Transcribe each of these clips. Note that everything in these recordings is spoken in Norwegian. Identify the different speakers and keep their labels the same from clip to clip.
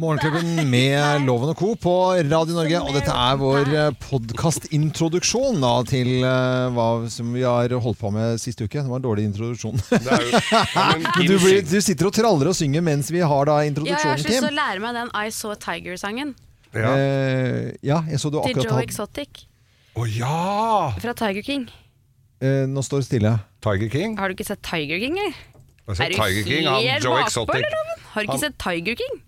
Speaker 1: Morgenklubben med Loven og Co. på Radio Norge. Og dette er vår podkastintroduksjon til eh, hva som vi har holdt på med sist uke. Det var en dårlig introduksjon.
Speaker 2: Det er jo, ja, men,
Speaker 1: Men Du, blir, du sitter og traller og synger mens vi har da
Speaker 3: Ja, jeg har
Speaker 1: introduksjonen,
Speaker 3: så lyst til å
Speaker 1: Kim.
Speaker 3: lære meg den I Saw a Tiger-sangen
Speaker 2: ja.
Speaker 1: Eh, ja, jeg så du
Speaker 3: til
Speaker 1: akkurat
Speaker 3: Joe
Speaker 1: har
Speaker 3: Exotic
Speaker 2: Å ja!
Speaker 3: fra Tiger King.
Speaker 1: eh, Nå står det stille.
Speaker 2: Tiger King.
Speaker 3: Har du ikke sett Tiger King, eller?
Speaker 2: Altså,
Speaker 3: Er du
Speaker 2: Tiger King, han
Speaker 3: helt
Speaker 2: Joe
Speaker 3: bakpå,
Speaker 2: Exotic.
Speaker 3: eller, Loven? Har du ikke sett Tiger King?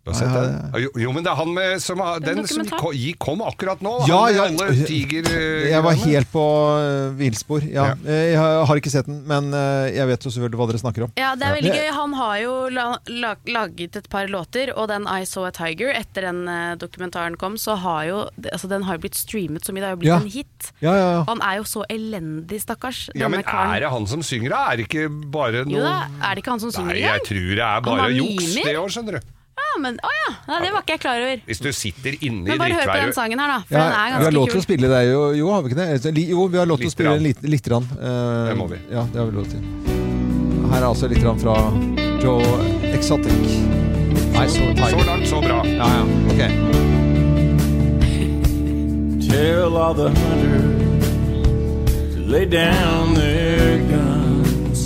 Speaker 2: Du har sett den? Ah, Jo, jo, men det er han med som har,
Speaker 3: Den
Speaker 2: Den som
Speaker 3: dokumentar.
Speaker 2: ko- gikk- kom akkurat nå.
Speaker 1: Ja,
Speaker 2: han med
Speaker 1: ja.
Speaker 2: alle tiger...
Speaker 1: Jeg var helt på eh, villspor. Ja.
Speaker 2: Ja.
Speaker 1: Eh, Jeg har ikke sett den, men eh, jeg vet jo selvfølgelig hva dere snakker om.
Speaker 3: Ja, det er
Speaker 1: Ja.
Speaker 3: veldig
Speaker 1: Det-
Speaker 3: gøy. Han har jo la, la, laget et par låter, og den I Saw a Tiger, etter den eh, dokumentaren kom, så har jo altså, Den har jo blitt streamet så mye, det har jo blitt
Speaker 1: Ja.
Speaker 3: en hit.
Speaker 1: Ja, ja, ja.
Speaker 3: Han er jo så elendig, stakkars.
Speaker 2: Ja, men er det han som synger, da? Er det ikke bare
Speaker 3: Jo
Speaker 2: noe
Speaker 3: da, er det ikke han som synger i
Speaker 2: Nei, jeg
Speaker 3: gang?
Speaker 2: tror det er bare
Speaker 3: har
Speaker 2: juks
Speaker 3: mimer.
Speaker 2: det òg, skjønner du.
Speaker 3: Ja, men å ja! Nei, det var ikke jeg klar over.
Speaker 2: Hvis du sitter inne i
Speaker 3: Men bare hør på den
Speaker 2: drittværet
Speaker 3: sangen her, da. For
Speaker 1: Ja,
Speaker 3: den er
Speaker 1: vi har lov til å
Speaker 3: ganske kul.
Speaker 1: spille det, jo, jo, har vi ikke det? Eh, Li- Jo, vi har lov til å
Speaker 2: Litt
Speaker 1: spille
Speaker 2: grann.
Speaker 1: litt, litt grann. Eh,
Speaker 2: Det må vi.
Speaker 1: Ja, det har vi lov til. Her er altså litt grann fra Joe Exotic. Nei, så
Speaker 2: Så
Speaker 1: Tiger.
Speaker 2: langt, så bra.
Speaker 1: Ja, ja, ok.
Speaker 4: Tell all the hunters to lay down their guns.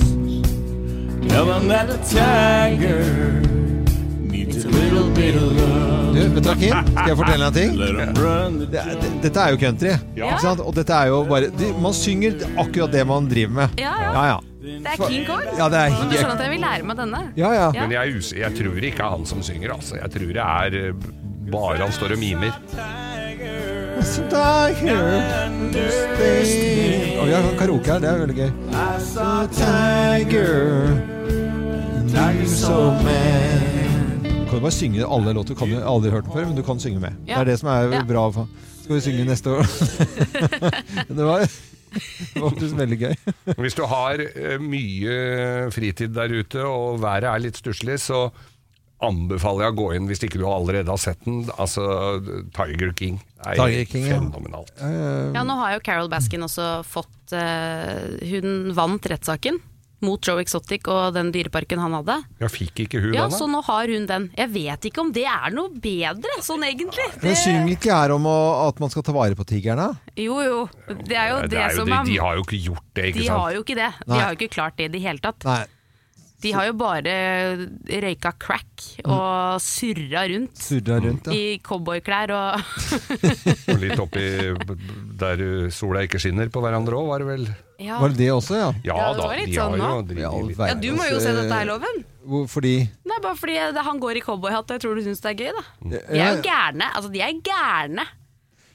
Speaker 4: Tell them that a tiger needs a little bit of love.
Speaker 1: Du, vet du hva, Kim? Skal jeg fortelle deg en ting?
Speaker 4: Let 'em run the
Speaker 1: Det, er- det, dette er jo country, ikke sant? Og dette er jo bare... De, man synger akkurat det man driver med.
Speaker 3: Ja, ja.
Speaker 1: Ja, ja.
Speaker 3: Det er King Kong.
Speaker 1: Ja, det er
Speaker 3: Men du
Speaker 1: helt-
Speaker 3: skjønner at jeg vil lære meg denne?
Speaker 1: Ja, ja.
Speaker 3: Ja.
Speaker 2: Men jeg, er us- jeg tror ikke det er han som synger, altså. Jeg tror det er eh, bare han står og mimer.
Speaker 4: tiger
Speaker 1: Så Tiger.
Speaker 4: understand.
Speaker 1: Og vi har sånn karaoke her, det er veldig
Speaker 4: I
Speaker 1: gøy.
Speaker 4: saw a
Speaker 1: Tiger.
Speaker 4: tiger so mad.
Speaker 1: Du kan jo bare synge alle låter. Du kan jo aldri hørt den før, men du kan synge med. Det
Speaker 3: Ja.
Speaker 1: er det som er
Speaker 3: Ja.
Speaker 1: bra. for- Skal vi synge neste år? det var det var faktisk veldig gøy.
Speaker 2: Hvis du har eh, mye fritid der ute, og været er litt stusslig, så anbefaler jeg å gå inn hvis ikke du allerede har sett den. Altså Tiger King. er
Speaker 1: Tiger King, ja.
Speaker 2: fenomenalt.
Speaker 3: Ja, nå har jo Carol Baskin også fått eh, Hun vant rettssaken mot Joe Exotic og den dyreparken han hadde.
Speaker 2: Jeg fikk ikke hun
Speaker 3: Ja, sånn
Speaker 2: denne.
Speaker 3: Så nå har hun den. Jeg vet ikke om det er noe bedre, sånn egentlig.
Speaker 1: Men
Speaker 3: Det,
Speaker 1: synger ikke her om å, at man skal ta vare på tigerne?
Speaker 3: jo, jo. Det er jo det,
Speaker 2: Nei, det er jo,
Speaker 3: som
Speaker 2: de,
Speaker 3: er
Speaker 2: de har jo ikke gjort det, ikke
Speaker 3: De
Speaker 2: sant?
Speaker 3: har jo ikke det. De
Speaker 1: Nei.
Speaker 3: har jo ikke klart det i det hele tatt.
Speaker 1: Nei.
Speaker 3: De har jo bare røyka crack og surra rundt
Speaker 1: Surra rundt, ja.
Speaker 3: i cowboyklær og
Speaker 2: Og litt oppi b- b- der uh, sola ikke skinner på hverandre òg, var det vel?
Speaker 3: ja.
Speaker 1: Var det det også, ja?
Speaker 2: Ja,
Speaker 3: Ja, det
Speaker 2: da,
Speaker 3: var litt
Speaker 2: de
Speaker 3: sånn
Speaker 2: har jo
Speaker 3: nå.
Speaker 2: drivet
Speaker 1: Ja,
Speaker 2: litt.
Speaker 1: ver-
Speaker 3: ja, du må jo se dette her, Loven.
Speaker 1: Hvor- Fordi
Speaker 3: Nei, bare fordi det- han går i cowboyhatt og jeg tror du syns det er gøy, da. De er
Speaker 1: Ja,
Speaker 3: jo gærne. Altså, de er gærne,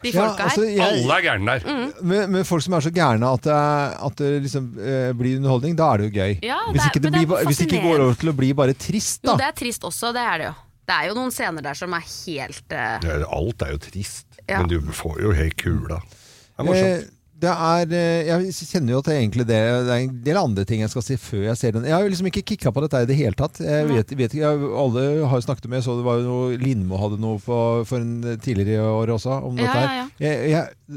Speaker 3: de
Speaker 1: ja,
Speaker 3: folka
Speaker 1: altså,
Speaker 3: her.
Speaker 1: jeg,
Speaker 2: Alle er gærne der.
Speaker 3: Mm.
Speaker 1: med, med folk som er så gærne at det, at det liksom eh, blir underholdning, da er det jo gøy.
Speaker 3: Ja, det
Speaker 1: hvis,
Speaker 3: er-
Speaker 1: ikke det
Speaker 3: men det er
Speaker 1: blir, ba- hvis det ikke går
Speaker 3: fascinerende.
Speaker 1: over til å bli bare trist,
Speaker 3: Jo,
Speaker 1: da.
Speaker 3: det er trist også, det er det jo. Det er jo noen scener der som er helt eh,
Speaker 2: Det er- Alt er jo trist,
Speaker 3: Ja.
Speaker 2: men du får jo helt kula. Det er
Speaker 1: Eh,
Speaker 2: morsomt.
Speaker 1: Det er, eh, jeg kjenner jo at det er egentlig det, det er en del andre ting jeg skal si før jeg ser den. Jeg har jo liksom ikke kicka på dette i det hele tatt. Jeg vet, vet ikke, jeg, Alle har jo snakket med, jeg så det var jo noe Lindmo hadde noe for, for en eh, tidligere i år også om
Speaker 3: Ja,
Speaker 1: dette her.
Speaker 3: ja, ja.
Speaker 1: Jeg,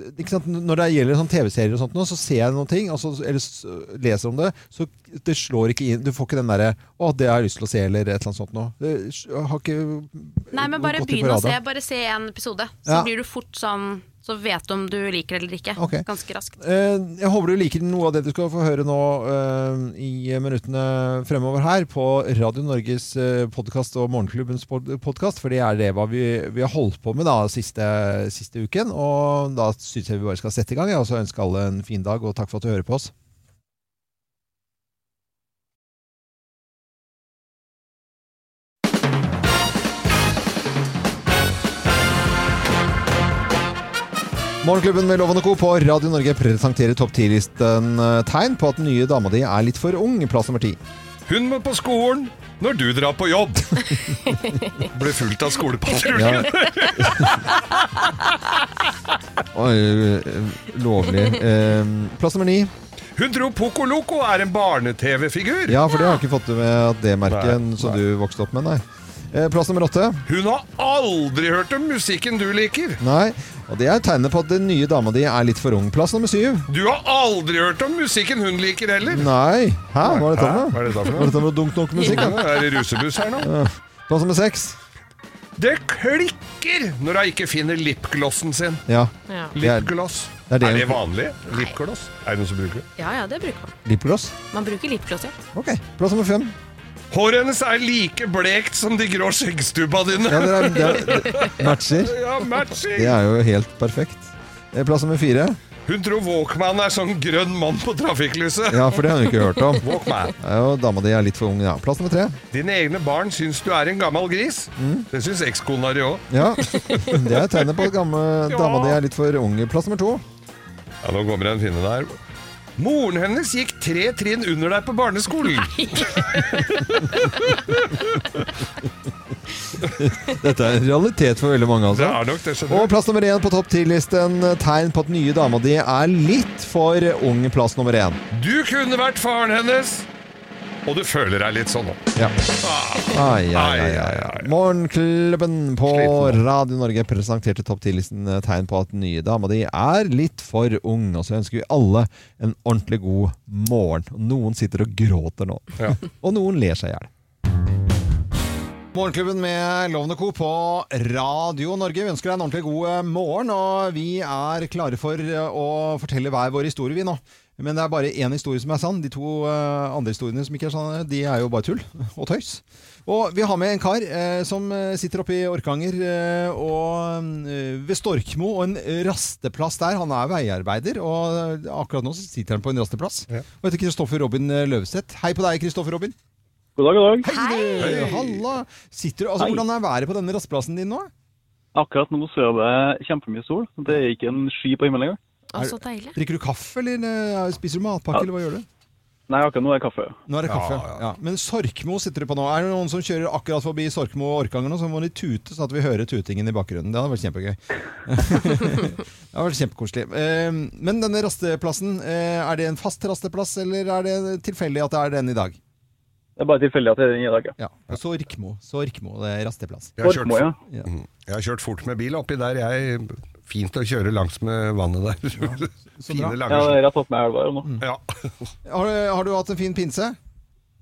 Speaker 1: jeg, ikke sant? Når det gjelder sånn TV-serier og sånt nå, så ser jeg noen ting, og så, eller s- leser om det, så det slår ikke inn. Du får ikke den derre 'Å, det har jeg lyst til å se', eller et eller annet sånt nå. Det har ikke
Speaker 3: Nei, men bare
Speaker 1: gått inn på
Speaker 3: begynn å se.
Speaker 1: radaren.
Speaker 3: Bare se en episode. Så
Speaker 1: Ja.
Speaker 3: blir du fort sånn Så vet du om du liker det eller ikke.
Speaker 1: Ok.
Speaker 3: Ganske raskt.
Speaker 1: Eh, Jeg håper du liker noe av det du skal få høre nå eh, i minuttene fremover her på Radio Norges eh, podkast og Morgenklubbens podkast, for det er det hva vi, vi har holdt på med da siste, siste uken. Og da syns jeg vi bare skal sette i gang. Jeg også ønsker alle en fin dag, og takk for at du hører på oss. Morgenklubben med Loven og Co. på Radio Norge presenterer topp 10-listen eh, tegn på at den nye dama di er litt for ung. Plass nummer ti.
Speaker 2: Hun må på skolen når du drar på jobb. Ble fulgt av skolepatruljen.
Speaker 1: Oi, øh, lovlig. Eh, plass nummer ni.
Speaker 2: Hun tror Poco Loco er en barne-TV-figur.
Speaker 1: Ja, for det har jeg ikke fått med at det merket
Speaker 2: Nei,
Speaker 1: som
Speaker 2: nei.
Speaker 1: du vokste opp med, nei. Eh, plass nummer åtte.
Speaker 2: Hun har aldri hørt om musikken du liker.
Speaker 1: Nei. Og det er tegnet på at den nye dama di er litt for ung. Plass nummer syv.
Speaker 2: Du har aldri hørt om musikken hun liker heller.
Speaker 1: Nei. Hæ, hva er dette
Speaker 2: Hæ?
Speaker 1: for noe?
Speaker 2: Hva er dette for
Speaker 1: Var
Speaker 2: noe?
Speaker 1: dette for dunk nok musikk? da?
Speaker 2: Nå Er det rusebuss her nå?
Speaker 1: Plass nummer seks.
Speaker 2: Det klikker når hun ikke finner lipglossen sin.
Speaker 1: Ja.
Speaker 3: Ja.
Speaker 1: er-
Speaker 2: Lipgloss.
Speaker 1: det er
Speaker 2: er,
Speaker 1: det-
Speaker 2: det vanlig? Lipgloss? Er det noen som bruker det?
Speaker 3: ja, ja, det bruker man.
Speaker 1: Lipgloss.
Speaker 3: Man bruker lipgloss, ja.
Speaker 1: Ok. Plass nummer fem.
Speaker 2: Håret hennes er like blekt som de grå skjeggstubba dine.
Speaker 1: Ja, det, er, det, er, det matcher.
Speaker 2: Ja, matching!
Speaker 1: Det er jo helt perfekt. Eh, Plass nummer fire.
Speaker 2: Hun tror Walkman er sånn grønn mann på trafikklyset.
Speaker 1: Ja, for det har hun ikke hørt om.
Speaker 2: Walkman.
Speaker 1: Det er jo dama di er litt for ung, ja. Plass nummer tre.
Speaker 2: Dine egne barn syns du er en gammel gris. Det syns ekskona di òg.
Speaker 1: Ja. Det er tegnet på at gamle dama di er litt for ung. Plass nummer to.
Speaker 2: Ja, nå kommer det en finne der. Moren hennes gikk tre trinn under deg på barneskolen.
Speaker 1: Dette er en realitet for veldig mange,
Speaker 2: Det
Speaker 1: altså.
Speaker 2: er nok det, skjønner
Speaker 1: Og
Speaker 2: du.
Speaker 1: plass nummer én på topp ti-listen. Tegn på at nye dama di er litt for ung. Plass nummer én.
Speaker 2: Du kunne vært faren hennes, og du føler deg litt sånn nå.
Speaker 1: Ja. Ai, ai, ai,
Speaker 2: Ai,
Speaker 1: ai,
Speaker 2: ai,
Speaker 1: ai.
Speaker 2: ai.
Speaker 1: Morgenklubben på
Speaker 2: Sliten
Speaker 1: Radio Norge presenterte topp ti-listen eh, tegn på at nye dama di er litt for ung. Og så ønsker vi alle en ordentlig god morgen. Og Noen sitter og gråter nå.
Speaker 2: Ja.
Speaker 1: Og noen ler seg i hjel. Morgenklubben med Lovende Co. på Radio Norge. Vi ønsker deg en ordentlig god eh, morgen, og vi er klare for eh, å fortelle hver vår historie, vi nå. Men det er bare én historie som er sann. De to eh, andre historiene som ikke er sanne, de er jo bare tull og tøys. Og vi har med en kar eh, som eh, sitter oppe i Orkanger eh, og eh, ved Storkmo og en rasteplass der. Han er veiarbeider, og eh, akkurat nå så sitter han på en rasteplass.
Speaker 2: Ja.
Speaker 1: Og heter Kristoffer Robin eh, Løvseth. Hei på deg, Kristoffer Robin.
Speaker 5: God dag, god dag.
Speaker 1: Hei! du! Halla! Sitter, du- altså,
Speaker 5: Hei.
Speaker 1: hvordan er været på denne rasteplassen din nå?
Speaker 5: Akkurat nå så er det kjempemye sol. Det er ikke en sky på himmelen engang.
Speaker 3: Å, så deilig.
Speaker 1: Drikker du kaffe, eller eh, spiser du
Speaker 5: Ja.
Speaker 1: matpakke, eller hva gjør du?
Speaker 5: Nei, akkurat nå er det kaffe.
Speaker 1: Nå er det
Speaker 2: Ja,
Speaker 1: kaffe. Ja,
Speaker 2: ja.
Speaker 1: Men Sorkmo sitter du på nå. Er det noen som kjører akkurat forbi Sorkmo og Orkanger nå, så må de tute sånn at vi hører tutingen i bakgrunnen. Det hadde vært kjempegøy. det hadde vært kjempekoselig. Eh, Men denne rasteplassen, eh, er det en fast rasteplass, eller er det tilfeldig at det er den i dag?
Speaker 5: Det er bare tilfeldig at det er den i dag. ja.
Speaker 1: Ja, og Sorkmo. Sorkmo, det er rasteplass.
Speaker 2: Jeg har kjørt
Speaker 5: Orkmo, ja.
Speaker 2: Jeg har kjørt fort med bil oppi der. Jeg Fint å kjøre langs med vannet der.
Speaker 1: så bra.
Speaker 2: Fine
Speaker 5: Ja,
Speaker 2: lange
Speaker 5: det
Speaker 2: sjø.
Speaker 5: er rett opp med elva her nå.
Speaker 2: Ja.
Speaker 1: Har, du- har du hatt en fin pinse?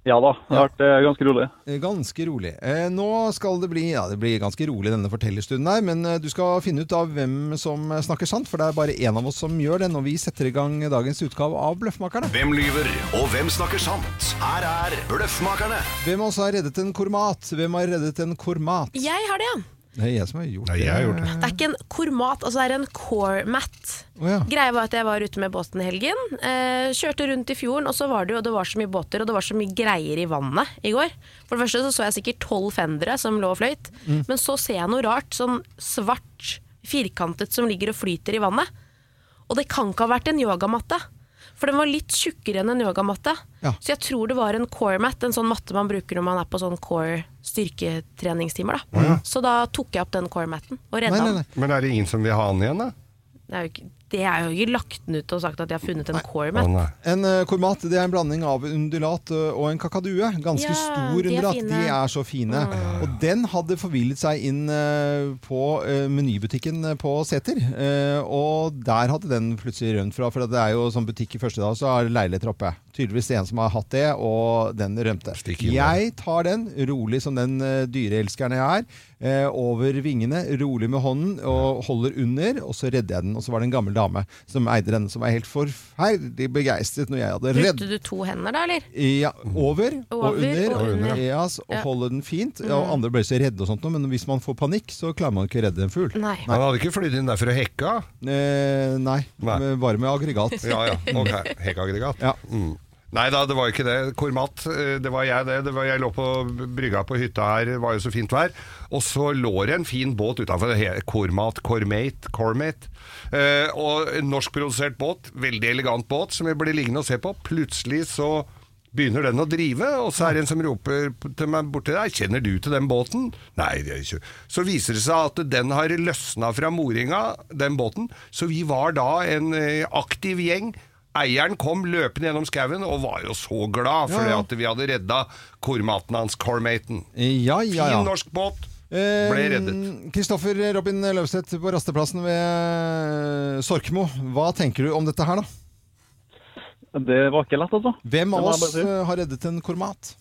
Speaker 5: Ja da, det har vært eh, ganske rolig.
Speaker 1: Eh, Ganske rolig. Eh, nå skal det bli Ja, det blir ganske rolig denne fortellerstunden her, men eh, du skal finne ut av hvem som eh, snakker sant, for det er bare én av oss som gjør det når vi setter i gang dagens utgave av Bløffmakerne.
Speaker 6: Hvem lyver, og hvem snakker sant? Her er Bløffmakerne.
Speaker 1: Hvem av oss har reddet en kormat? Hvem har reddet en kormat?
Speaker 3: Jeg har det, ja.
Speaker 1: Det er jeg som har gjort
Speaker 2: Nei,
Speaker 1: det.
Speaker 2: jeg har gjort det.
Speaker 3: Det er ikke en kormat, altså det er en core-mat.
Speaker 1: Å, ja.
Speaker 3: Greia var at jeg var ute med båten i helgen. Eh, kjørte rundt i fjorden, og så var det jo og det var så mye båter og det var så mye greier i vannet i går. For det første så, så jeg sikkert tolv fendere som lå og fløyt.
Speaker 1: Mm.
Speaker 3: Men så ser jeg noe rart, sånn svart, firkantet som ligger og flyter i vannet. Og det kan ikke ha vært en yogamatte. For den var litt tjukkere enn en yogamatte.
Speaker 1: Ja.
Speaker 3: Så jeg tror det var en core mat, en sånn matte man bruker når man er på sånn core styrketreningstimer. Da. Så da tok jeg opp den core matten og redda
Speaker 1: Nei, nei,
Speaker 3: den.
Speaker 1: nei.
Speaker 2: Men er det ingen som vil ha den igjen, da?
Speaker 3: Det er jo ikke, det er jo ikke lagt den ut og sagt at jeg har funnet en core
Speaker 2: Å,
Speaker 3: mat.
Speaker 2: nei.
Speaker 1: En eh, kormat det er en blanding av undulat eh, og en kakadue. Ganske
Speaker 3: Ja,
Speaker 1: stor
Speaker 3: de er
Speaker 1: undulat.
Speaker 3: fine. Mm.
Speaker 1: De er så fine. Og den hadde forvillet seg inn eh, på eh, menybutikken eh, på Seter. eh, Og der hadde den plutselig rømt fra, for det er jo sånn butikk i første dag, så er det leiligheter oppe. Tydeligvis en som har hatt det, og den rømte.
Speaker 2: Stikk inn der.
Speaker 1: Jeg tar den, rolig som den eh, dyreelskeren jeg er, eh, over vingene, rolig med hånden, og holder under, og så redder jeg den. Og så var det en gammel dame som eide den, som var helt forferdelig begeistret når jeg hadde redd.
Speaker 3: Brukte du to hender da, eller?
Speaker 1: Ja, over, og
Speaker 3: Over
Speaker 1: under.
Speaker 3: og under.
Speaker 1: Ja, ass, og
Speaker 3: Ja. Mm.
Speaker 1: holde den fint. Ja, og andre ble så redde og sånt, noe, men hvis man får panikk, så klarer man ikke å redde en fugl.
Speaker 3: Nei.
Speaker 2: Han hadde ikke flydd inn der for å hekke? av?
Speaker 1: Eh, nei,
Speaker 2: Nei.
Speaker 1: men bare med aggregat.
Speaker 2: Ja, ja. Ok, hekkeaggregat.
Speaker 1: Ja.
Speaker 2: Mm. Nei da, det var ikke det. Kormat, eh, det var jeg det. det var, jeg lå på brygga på hytta her, det var jo så fint vær. Og så lå det en fin båt utafor. Kormat, Kormate, Kormate. Eh, og en norskprodusert båt, veldig elegant båt, som jeg ble liggende og se på. Plutselig så Begynner den å drive, og så er det en som roper p- til meg borti der 'Kjenner du til den båten?' Nei, det gjør jeg ikke. Så viser det seg at den har løsna fra moringa, den båten. Så vi var da en eh, aktiv gjeng. Eieren kom løpende gjennom skauen og var jo så glad for
Speaker 1: Ja, ja.
Speaker 2: at vi hadde redda kormaten hans, Cormaten.
Speaker 1: Ja,
Speaker 2: Fin
Speaker 1: ja, ja.
Speaker 2: norsk båt.
Speaker 1: Eh,
Speaker 2: Ble reddet.
Speaker 1: Kristoffer Robin Løvstedt på rasteplassen ved Sorkmo. Hva tenker du om dette her, da?
Speaker 5: Det var ikke lett, altså.
Speaker 1: Hvem
Speaker 5: Det
Speaker 1: av
Speaker 5: må jeg
Speaker 1: oss
Speaker 5: bare si.
Speaker 1: eh, har reddet en kormat?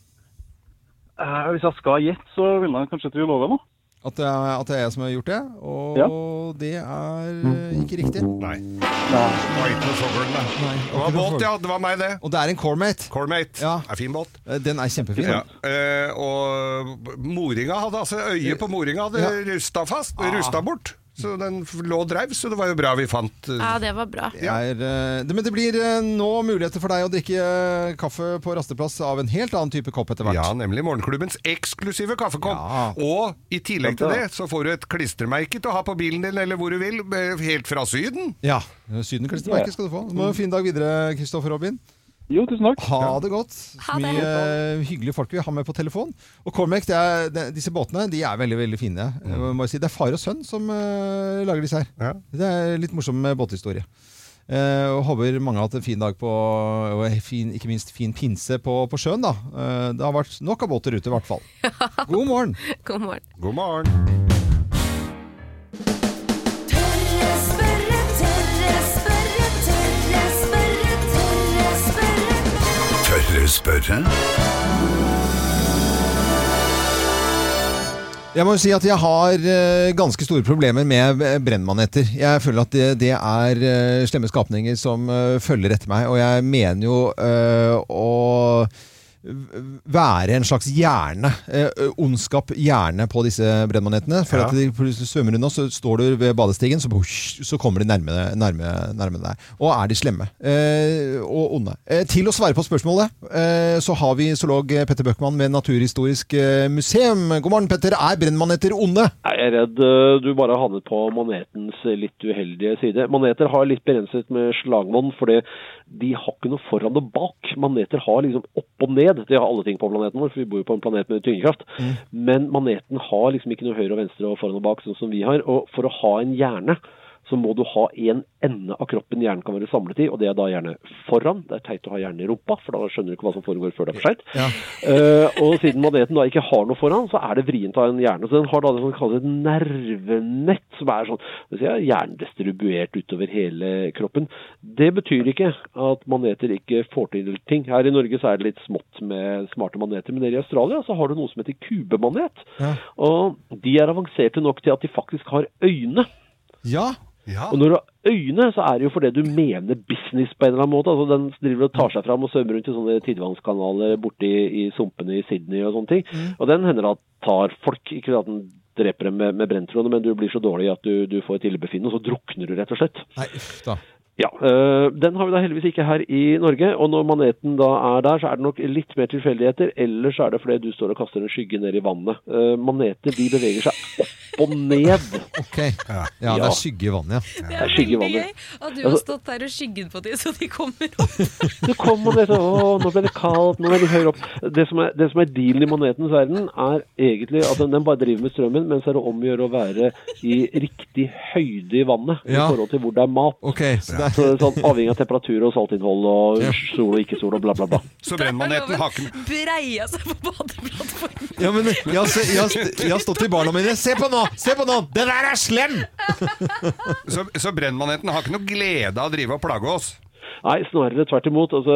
Speaker 5: Eh, hvis jeg skal gjette, så vil jeg kanskje til biologen, da.
Speaker 1: At det, er, at det er jeg som har gjort det? Og det er eh, ikke riktig.
Speaker 2: Nei. Det var ikke noe sånn, nei. Det var båt, ja. Det var meg, det.
Speaker 1: Og det er en cormate.
Speaker 2: Cormate.
Speaker 1: Ja.
Speaker 2: Er fin båt.
Speaker 1: Eh, Den er kjempefin.
Speaker 2: Ja. eh, og moringa hadde altså Øyet på moringa hadde
Speaker 1: Ja.
Speaker 2: rusta fast, rusta bort. Så den f- lå og dreiv, så det var jo bra vi fant eh,
Speaker 3: Ja, det var bra.
Speaker 1: Det Er, eh, det, men det blir eh, nå muligheter for deg å drikke eh, kaffe på rasteplass av en helt annen type kopp etter hvert.
Speaker 2: Ja, nemlig Morgenklubbens eksklusive kaffekopp.
Speaker 1: Ja.
Speaker 2: Og i tillegg til
Speaker 5: Ja.
Speaker 2: det så får du et klistremerke til å ha på bilen din eller hvor du vil, eh, helt fra Syden.
Speaker 1: Ja. Sydenklistremerket skal du få. Du
Speaker 5: Mm.
Speaker 1: må ha en fin dag videre, Kristoffer Robin.
Speaker 5: Jo, tusen takk.
Speaker 1: Ha det godt.
Speaker 3: Ha det.
Speaker 1: Mye eh, hyggelige folk vi har med på telefon. Og Cormac, det er, det, disse båtene de er veldig veldig fine. Jeg må si, det er far og sønn som eh, lager disse her.
Speaker 2: Ja.
Speaker 1: Det er litt morsom eh, båthistorie. Eh, og Håper mange har hatt en fin dag på, og en fin, ikke minst fin pinse på, på sjøen. da Eh, Det har vært nok av båter ute, i hvert fall. God morgen!
Speaker 3: God morgen.
Speaker 2: God morgen.
Speaker 7: Tørre spørre, tørre spørre, tørre spørre, tørre spørre.
Speaker 6: Tørre spørre?
Speaker 1: Jeg må jo si at jeg har eh, ganske store problemer med eh, brennmaneter. Jeg føler at det, det er eh, slemme skapninger som eh, følger etter meg, og jeg mener jo eh, å være en slags hjerne, eh, ondskap hjerne på disse brennmanetene. For
Speaker 2: Ja.
Speaker 1: at de plutselig svømmer unna, så står du ved badestigen, så, push, så kommer de nærme, nærme, nærme deg. Og er de slemme eh, og onde. Eh, til å svare på spørsmålet, eh, så har vi zoolog Petter Bøckmann ved Naturhistorisk eh, museum. God morgen, Petter. Er brennmaneter onde?
Speaker 8: Nei, Jeg er redd eh, du bare har havnet på manetens eh, litt uheldige side. Maneter har litt begrenset med slagvann, fordi de har ikke noe foran og bak. Maneter har liksom opp og ned. De har alle ting på planeten vår, for vi bor jo på en planet med tyngdekraft. Men maneten har liksom ikke noe høyre og venstre og foran og bak, sånn som vi har. Og for å ha en hjerne, så må du ha en ende av kroppen hjernen kan være samlet i, og det er da gjerne foran. Det er teit å ha hjernen i rumpa, for da skjønner du ikke hva som foregår før det er for seint.
Speaker 1: Ja.
Speaker 8: Eh, og siden maneten da ikke har noe foran, så er det vrient av en hjerne. Så den har da det som kalles et nervenett, som er sånn det vil si, ja, jerndistribuert utover hele kroppen. Det betyr ikke at maneter ikke får til ting. Her i Norge så er det litt smått med smarte maneter, men nede i Australia så har du noe som heter kubemanet.
Speaker 1: Ja.
Speaker 8: Og de er avanserte nok til at de faktisk har øyne.
Speaker 1: Ja.
Speaker 2: Ja.
Speaker 8: Og når du har øyne, så er det jo fordi du mener business på en eller annen måte. Altså Den driver og tar seg fram og svømmer rundt i sånne tidevannskanaler borti i sumpene i Sydney og sånne ting. Og den hender at tar folk. Ikke at den dreper dem med, med brenntråd, men du blir så dårlig at du, du får et illebefinnende, og så drukner du rett og slett.
Speaker 1: Nei, uff da.
Speaker 8: Ja, øh, Den har vi da heldigvis ikke her i Norge. Og når maneten da er der, så er det nok litt mer tilfeldigheter. Ellers er det fordi du står og kaster en skygge ned i vannet. Øh, Maneter de beveger seg opp og ned.
Speaker 1: Ok. Ja, det er skygge i vannet, ja.
Speaker 3: Det
Speaker 8: er skyggevannet.
Speaker 3: at du har
Speaker 1: Altså-
Speaker 3: stått der og skygget på dem, så de kommer opp.
Speaker 8: Det kom og det sa å, nå ble det kaldt, nå er det høyere opp. Det som er, det som er dealen i manetens verden, er egentlig at den, den bare driver med strømmen, mens det er det om å gjøre å være i riktig høyde i vannet
Speaker 1: Ja.
Speaker 8: i forhold til hvor det er mat.
Speaker 1: Ok, så det
Speaker 8: Så
Speaker 1: er
Speaker 8: det er sånn Avhengig av temperatur og saltinnhold og
Speaker 1: Ja.
Speaker 8: sol og ikke sol og bla, bla, bla.
Speaker 2: Så brennmaneten har ikke
Speaker 3: Breia seg på badeplattformen.
Speaker 1: ja, men, jeg, har, se- jeg, har, st- jeg har stått til barna mine. Se på nå! Se på nå! Det der er slem!
Speaker 2: Så, så brennmaneten har ikke noe glede av å drive og plage oss.
Speaker 8: Nei, snarere tvert imot. Altså,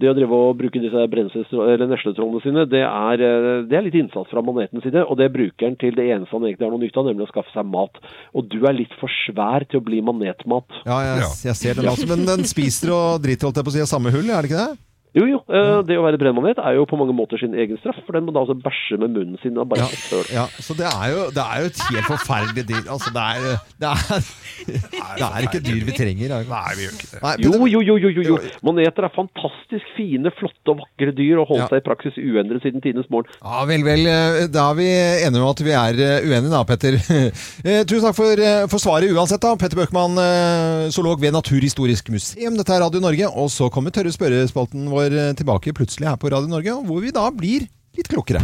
Speaker 8: det å drive og bruke disse brenselstra- eller nesletrollene sine, det er, eh, det er litt innsats fra manetens side. Og det bruker han til det eneste han egentlig har noe nytte av, nemlig å skaffe seg mat. Og du er litt for svær til å bli manetmat.
Speaker 1: Ja, jeg,
Speaker 2: Ja.
Speaker 1: jeg ser den også. Men den spiser og driter, holdt jeg på å si, av samme hull, er det ikke det?
Speaker 8: Jo, jo. eh, Det å være brennmanet er jo på mange måter sin egen straff, for den må da altså bæsje med munnen sin. Og
Speaker 1: Ja,
Speaker 8: bare ja. søl.
Speaker 1: ja, så det er, jo, det er jo et helt forferdelig dyr. Altså, det er, det er, det er ikke et dyr vi trenger. er det?
Speaker 2: Nei, vi gjør ikke det.
Speaker 1: Nei,
Speaker 8: Jo,
Speaker 1: Petter,
Speaker 8: jo, jo, jo, jo, jo. Maneter er fantastisk fine, flotte og vakre dyr, og holdt
Speaker 1: Ja.
Speaker 8: seg i praksis uendret siden tidenes morgen.
Speaker 1: Ja, vel, vel. eh, Da er vi enige om at vi er eh, uenige, da, Petter. Eh, Tusen takk for, eh, for svaret uansett, da. Petter Bøckmann, eh, zoolog ved Naturhistorisk museum. Dette er Radio Norge. Og så kommer tørre spørrespalten vår år eh, tilbake plutselig her på Radio Norge, og hvor vi da blir litt klokere.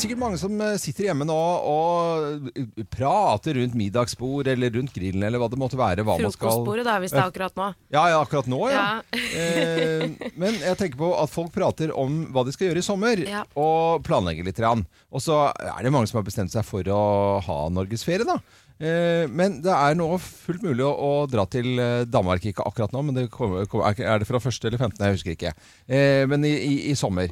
Speaker 1: Sikkert mange som eh, sitter hjemme nå og eh, prater rundt middagsbord eller rundt grillen eller hva det måtte være. Hva man skal...
Speaker 3: Frokostbordet, da, hvis det er akkurat nå.
Speaker 1: Ja, ja, akkurat nå, ja.
Speaker 3: Ja.
Speaker 1: eh, men jeg tenker på at folk prater om hva de skal gjøre i sommer,
Speaker 3: Ja.
Speaker 1: og planlegger litt. grann. Og så er det mange som har bestemt seg for å ha norgesferie, da. Eh, men det er nå fullt mulig å, å dra til eh, Danmark, ikke akkurat nå, men det kommer, kommer, er ikke- er det fra 1. eller 15.? Jeg husker ikke. Eh, men i, i, i sommer.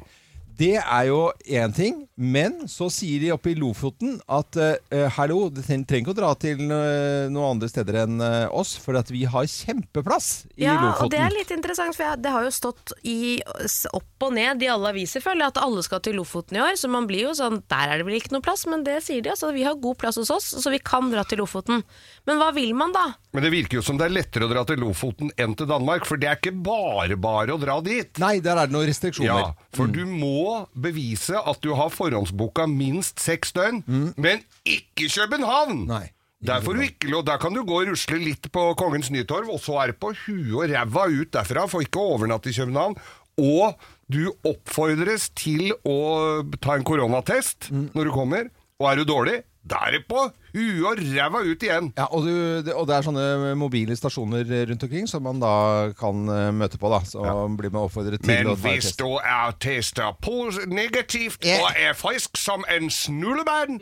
Speaker 1: Det er jo én ting, men så sier de oppe i Lofoten at eh, hallo, du treng- trenger ikke å dra til eh, noen andre steder enn eh, oss, for at vi har kjempeplass i
Speaker 3: Ja,
Speaker 1: Lofoten.
Speaker 3: og det er litt interessant, for jeg, det har jo stått i, s- opp og ned i alle aviser, føler jeg, at alle skal til Lofoten i år. Så man blir jo sånn Der er det vel ikke noe plass, men det sier de. Altså, vi har god plass hos oss, så vi kan dra til Lofoten. Men hva vil man da?
Speaker 2: Men det virker jo som det er lettere å dra til Lofoten enn til Danmark, for det er ikke bare bare å dra dit.
Speaker 1: Nei, der er det noen restriksjoner. Mm.
Speaker 2: Ja, for du må bevise at du har forhåndsboka minst seks døgn, men ikke København!
Speaker 1: Mm. Nei.
Speaker 2: Der, får du ikke lov, der kan du gå og rusle litt på Kongens Nytorv, og så er det på huet og ræva ut derfra, for ikke å overnatte i København. Og du oppfordres til å ta en koronatest
Speaker 1: Mm.
Speaker 2: når du kommer, og er du dårlig, da er det på huet og ræva ut igjen!
Speaker 1: Ja, og, du, det- og det er sånne mobile stasjoner eh, rundt omkring som man da kan eh, møte på. da Så blir man oppfordret til
Speaker 2: Men
Speaker 1: å ta
Speaker 2: hvis
Speaker 1: test.
Speaker 2: du er testa pos- negativt
Speaker 1: Ja.
Speaker 2: og er frisk som en snullemann,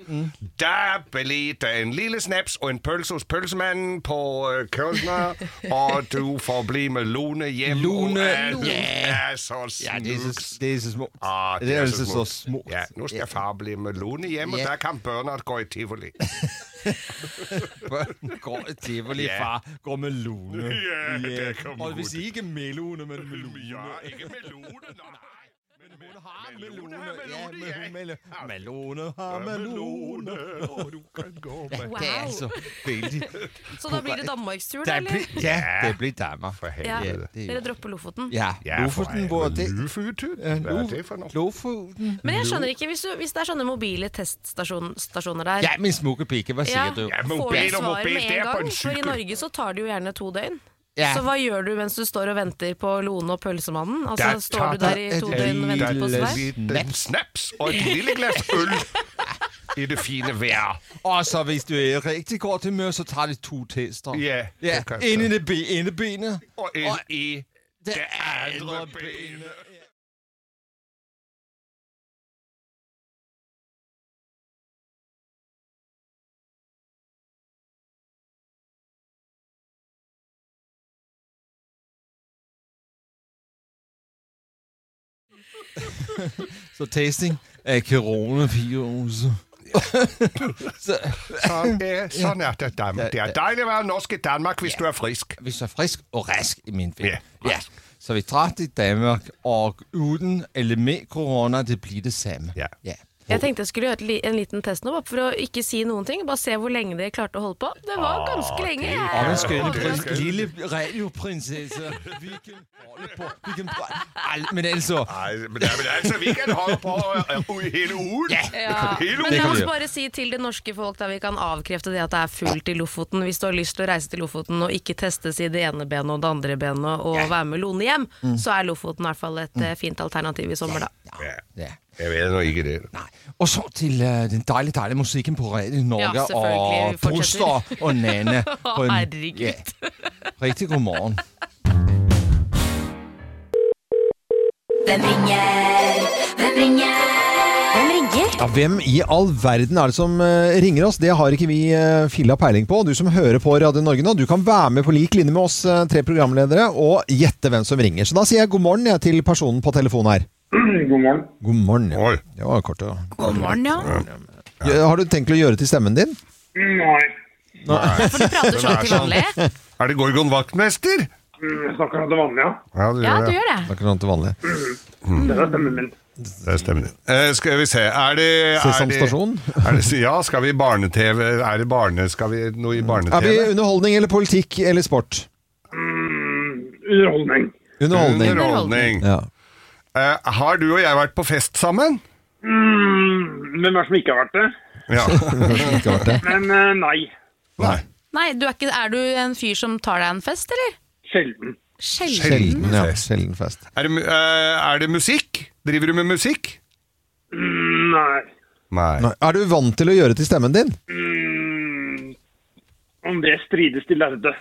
Speaker 2: da blir det en lille snaps og en pølse hos pølsemannen på eh, Kølsner, og du får bli med Lone hjem.
Speaker 1: Lone,
Speaker 2: og er-
Speaker 1: Lone.
Speaker 2: Ja, så
Speaker 1: Ja, det er så,
Speaker 2: snukt.
Speaker 1: det er så smått.
Speaker 2: Ah,
Speaker 1: det er altså så, så
Speaker 2: smukt.
Speaker 1: smått.
Speaker 2: Ja, nå skal far bli med Lone hjem, og
Speaker 1: Ja.
Speaker 2: der kan Bernhard gå i tivoli.
Speaker 1: Gå i tivoli,
Speaker 2: Ja.
Speaker 1: far. Gå med lone.
Speaker 2: Ja, det
Speaker 1: Ja.
Speaker 2: kan
Speaker 1: Og
Speaker 2: godt.
Speaker 1: hvis ikke melone, men melone.
Speaker 2: Ja, ikke med Lone, nei. Men hun har
Speaker 1: Melone, ja,
Speaker 2: melone,
Speaker 1: mel-
Speaker 2: jeg.
Speaker 1: mel- melone, ha melone.
Speaker 2: og du kan gå med
Speaker 3: Wow.
Speaker 1: Det er så veldig
Speaker 3: Så da blir det danmarkstur, da,
Speaker 1: Det
Speaker 3: eller?
Speaker 1: blir, ja, det blir Danmark.
Speaker 2: For
Speaker 3: Ja.
Speaker 2: helvete.
Speaker 3: Dere dropper Lofoten.
Speaker 1: Ja,
Speaker 2: Ja, for
Speaker 1: Lofoten
Speaker 2: ei-
Speaker 1: går til
Speaker 2: Lufutut?
Speaker 1: Eh,
Speaker 2: Hva er
Speaker 1: Lof-
Speaker 2: det for noe?
Speaker 1: Lofoten
Speaker 3: Men jeg skjønner ikke, hvis, du, hvis det er sånne mobile teststasjoner der
Speaker 1: Ja, min smukke pike, hva sier
Speaker 3: Ja,
Speaker 1: du?
Speaker 2: Ja, mobil
Speaker 3: får du
Speaker 2: og
Speaker 3: svaret
Speaker 2: mobil,
Speaker 3: med
Speaker 2: det er
Speaker 3: en
Speaker 2: på en
Speaker 3: gang? For i
Speaker 2: sykel.
Speaker 3: Norge så tar det jo gjerne to døgn.
Speaker 1: Ja.
Speaker 3: Så hva gjør du mens du står og venter på Lone og Pølsemannen? Altså,
Speaker 2: Der
Speaker 3: står du
Speaker 1: tar
Speaker 3: der i
Speaker 1: jeg
Speaker 3: to
Speaker 1: et
Speaker 3: døgn og venter på
Speaker 1: lille
Speaker 3: svar?
Speaker 2: En snaps og et lille glass øl i det fine vær.
Speaker 1: Og så hvis du er rigtig god til mø, så tager det to tester.
Speaker 2: Ja,
Speaker 1: ja.
Speaker 2: det kan
Speaker 1: Ind i
Speaker 2: jeg.
Speaker 1: det be- inde i benet.
Speaker 2: Og en i
Speaker 1: Det
Speaker 2: det andre
Speaker 1: andre
Speaker 2: benet.
Speaker 1: Så testing af coronavirus. så,
Speaker 2: Sånn er, sånn er det Danmark. Det er deilig å være norsk i Danmark hvis du er frisk.
Speaker 1: hvis jeg er frisk og rask i min ven.
Speaker 2: Ja,
Speaker 1: ja. Så vi tager til Danmark, og uden eller med corona, det bliver det samme.
Speaker 2: Ja.
Speaker 1: ja.
Speaker 3: Jeg tenkte jeg skulle gjøre et li- en liten test nå, bare for å ikke si noen ting. Bare se hvor lenge dere klarte å holde på. Det var ganske lenge.
Speaker 1: Og den
Speaker 3: Jeg-
Speaker 1: skønne
Speaker 3: Åh,
Speaker 1: prins, lille radioprinsesse. Vi kan holde på. Vi kan prøve. Al- Men altså,
Speaker 2: Nei, men, det er, men altså, vi kan holde på eh, hele ugen.
Speaker 3: Ja.
Speaker 2: Hele
Speaker 3: Men
Speaker 2: ugen.
Speaker 3: la
Speaker 1: kan vi
Speaker 3: oss
Speaker 1: gjøre.
Speaker 3: bare si til det norske folk da vi kan avkrefte det at det er fullt i Lofoten. Hvis du har lyst til å reise til Lofoten og ikke testes i det ene benet og det andre benet og være med Lone hjem, så er Lofoten i hvert fall et eh, fint alternativ i sommer, da.
Speaker 2: Ja,
Speaker 1: ja.
Speaker 2: Jeg vet nå ikke det.
Speaker 1: Nej. Og så til øh, den deilige, deilige musikken på Radio Norge
Speaker 3: Ja, selvfølgelig.
Speaker 1: og
Speaker 3: Vi fortsætter.
Speaker 1: Buster og Nana. på en-
Speaker 3: Herregud.
Speaker 1: ja. Rigtig god morgen.
Speaker 7: Hvem ringer? Hvem ringer? Hvem ringer?
Speaker 1: Ja, hvem i all verden er det som eh, ringer oss? Det har ikke vi eh, filla peiling på. Du som hører på Radio Norge nå, du kan være med på lik linje med oss eh, tre programledere og gjette hvem som ringer. Så da sier jeg god morgen jeg, til personen på telefonen her. God morgen. God
Speaker 2: Oi.
Speaker 1: morgen. Ja, det var kort, ja.
Speaker 3: God morgen, ja.
Speaker 1: Ja, Har du tenkt å gjøre til stemmen din?
Speaker 9: Nei.
Speaker 3: For du prater sånn til vanlig.
Speaker 2: Er det Gorgon Vaktmester?
Speaker 9: mm, Jeg snakker om det vanlige.
Speaker 2: Ja, du
Speaker 3: Ja,
Speaker 2: gjør
Speaker 3: du
Speaker 2: det.
Speaker 3: gjør det.
Speaker 1: Akkurat til vanlig.
Speaker 9: Det er stemmen min.
Speaker 2: Det stemmer. Eh, skal vi se Er det er
Speaker 1: Sesam
Speaker 2: det-
Speaker 1: stasjon?
Speaker 2: Er det, ja, skal vi i barne-TV? Er det barne... Skal vi noe i
Speaker 1: Er vi
Speaker 2: barne-TV?
Speaker 1: underholdning eller politikk eller sport?
Speaker 9: Underholdning.
Speaker 1: Underholdning.
Speaker 2: Underholdning.
Speaker 1: Ja.
Speaker 2: Eh, har du og jeg vært på fest sammen?
Speaker 9: Mm, hvem er det som ikke har vært det?
Speaker 2: Ja.
Speaker 1: Ikke vært det.
Speaker 9: Men eh, nei.
Speaker 2: Nei.
Speaker 3: Nei, du er, ikke, er du en fyr som tar deg en fest, eller?
Speaker 9: Sjelden.
Speaker 3: Sjelden.
Speaker 1: Sjelden, ja. Sjelden fest.
Speaker 2: Er det, mu- eh, er det musikk? Driver du med musikk?
Speaker 9: Mm, Nei.
Speaker 2: Nei.
Speaker 1: Er du vant til å gjøre til stemmen din?
Speaker 9: Om det strides de lærde.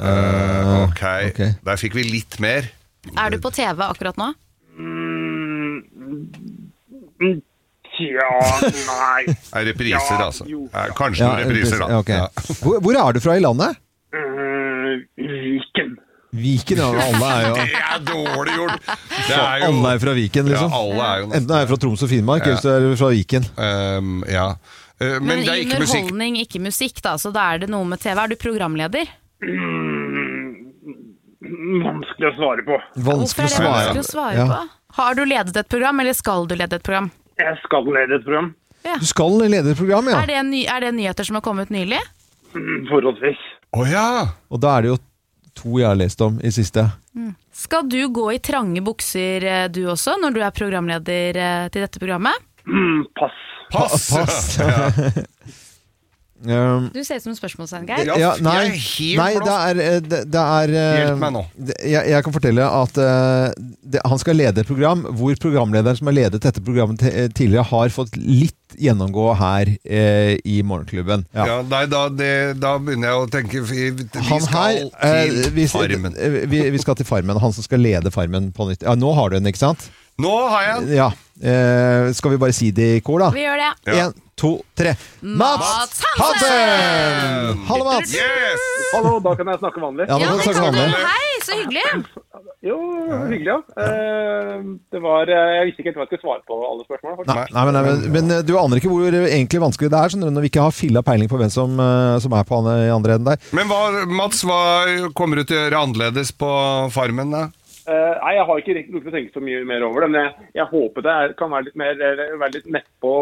Speaker 2: Eh, ok, der fikk vi litt mer.
Speaker 10: Er du på TV akkurat nå?
Speaker 9: Tja, nei.
Speaker 2: Er repriser,
Speaker 9: Ja,
Speaker 2: altså. Eh, kanskje noen repriser, da.
Speaker 1: ja, ok. Hvor, hvor er du fra i landet?
Speaker 9: Eh, Viken.
Speaker 1: Viken, ja. Alle er jo
Speaker 2: Det er dårlig gjort! Det
Speaker 1: Så
Speaker 2: er jo
Speaker 1: Alle er fra Viken, liksom.
Speaker 2: Ja, alle er jo nesten-
Speaker 1: Enten er jeg fra Troms og Finnmark,
Speaker 2: Ja.
Speaker 1: eller så er du fra Viken.
Speaker 2: ja. Eh,
Speaker 10: Men, i underholdning, ikke musikk, da. Så da er det noe med TV. Er du programleder?
Speaker 9: Vanskelig å svare på.
Speaker 10: Hvorfor er det vanskelig å svare på? Har du ledet et program, eller skal du lede et program?
Speaker 9: Jeg skal lede et program.
Speaker 1: Du skal lede et program, ja.
Speaker 10: Er, det ny, er det nyheter som har kommet nylig?
Speaker 9: Mm, Forholdsvis.
Speaker 2: Å ja!
Speaker 1: Og da er det jo to jeg har lest om i siste.
Speaker 10: Skal du gå i trange bukser eh, du også, når du er programleder eh, til dette programmet?
Speaker 9: pass.
Speaker 2: Pass!
Speaker 1: Pa- pass. um,
Speaker 10: Du ser ut som en spørsmålstegn, Geir.
Speaker 1: ja, nei, nei det er, eh, det, det er eh,
Speaker 2: Hjelp meg nå.
Speaker 1: det- Jeg, jeg kan fortelle at eh, det, han skal lede et program hvor programlederen som har ledet dette programmet te- eh, tidligere, har fått litt gjennomgå her eh, i Morgenklubben.
Speaker 2: Ja. nei, da, det, da begynner jeg å tenke Vi, vi
Speaker 1: Han her
Speaker 2: skal
Speaker 1: eh,
Speaker 2: til
Speaker 1: vi,
Speaker 2: Farmen.
Speaker 1: eh, Vi, vi skal til Farmen. Han som skal lede Farmen på nytt. Ja, nå har du den, ikke sant?
Speaker 2: Nå har jeg den!
Speaker 1: Ja. Eh, skal vi bare si det i kor, da?
Speaker 10: Vi gjør det.
Speaker 2: Ja.
Speaker 1: En, to, tre. Mats
Speaker 10: Mats
Speaker 1: Hansen! Hallo, Mats.
Speaker 2: Yes!
Speaker 9: Hallo, da kan jeg snakke vanlig.
Speaker 1: Ja, sånn da kan du snakke vanlig.
Speaker 10: Hei, så hyggelig!
Speaker 9: Jo, hyggelig, ja. Eh, Det var, eh, jeg visste ikke helt hva jeg skulle svare på alle spørsmål. faktisk.
Speaker 1: Nei, nei, men, nei, men, men eh, du aner ikke hvor egentlig vanskelig det er, skjønner du, når vi ikke har filla peiling på hvem som, eh, som er på han i andre enden der.
Speaker 2: Men hva, Mats, hva kommer du til å gjøre annerledes på Farmen, da?
Speaker 9: Eh, nei, jeg har ikke riktig rukket å tenke så mye mer over det, men jeg, jeg håper det er, kan være litt mer, eller være litt nettpå,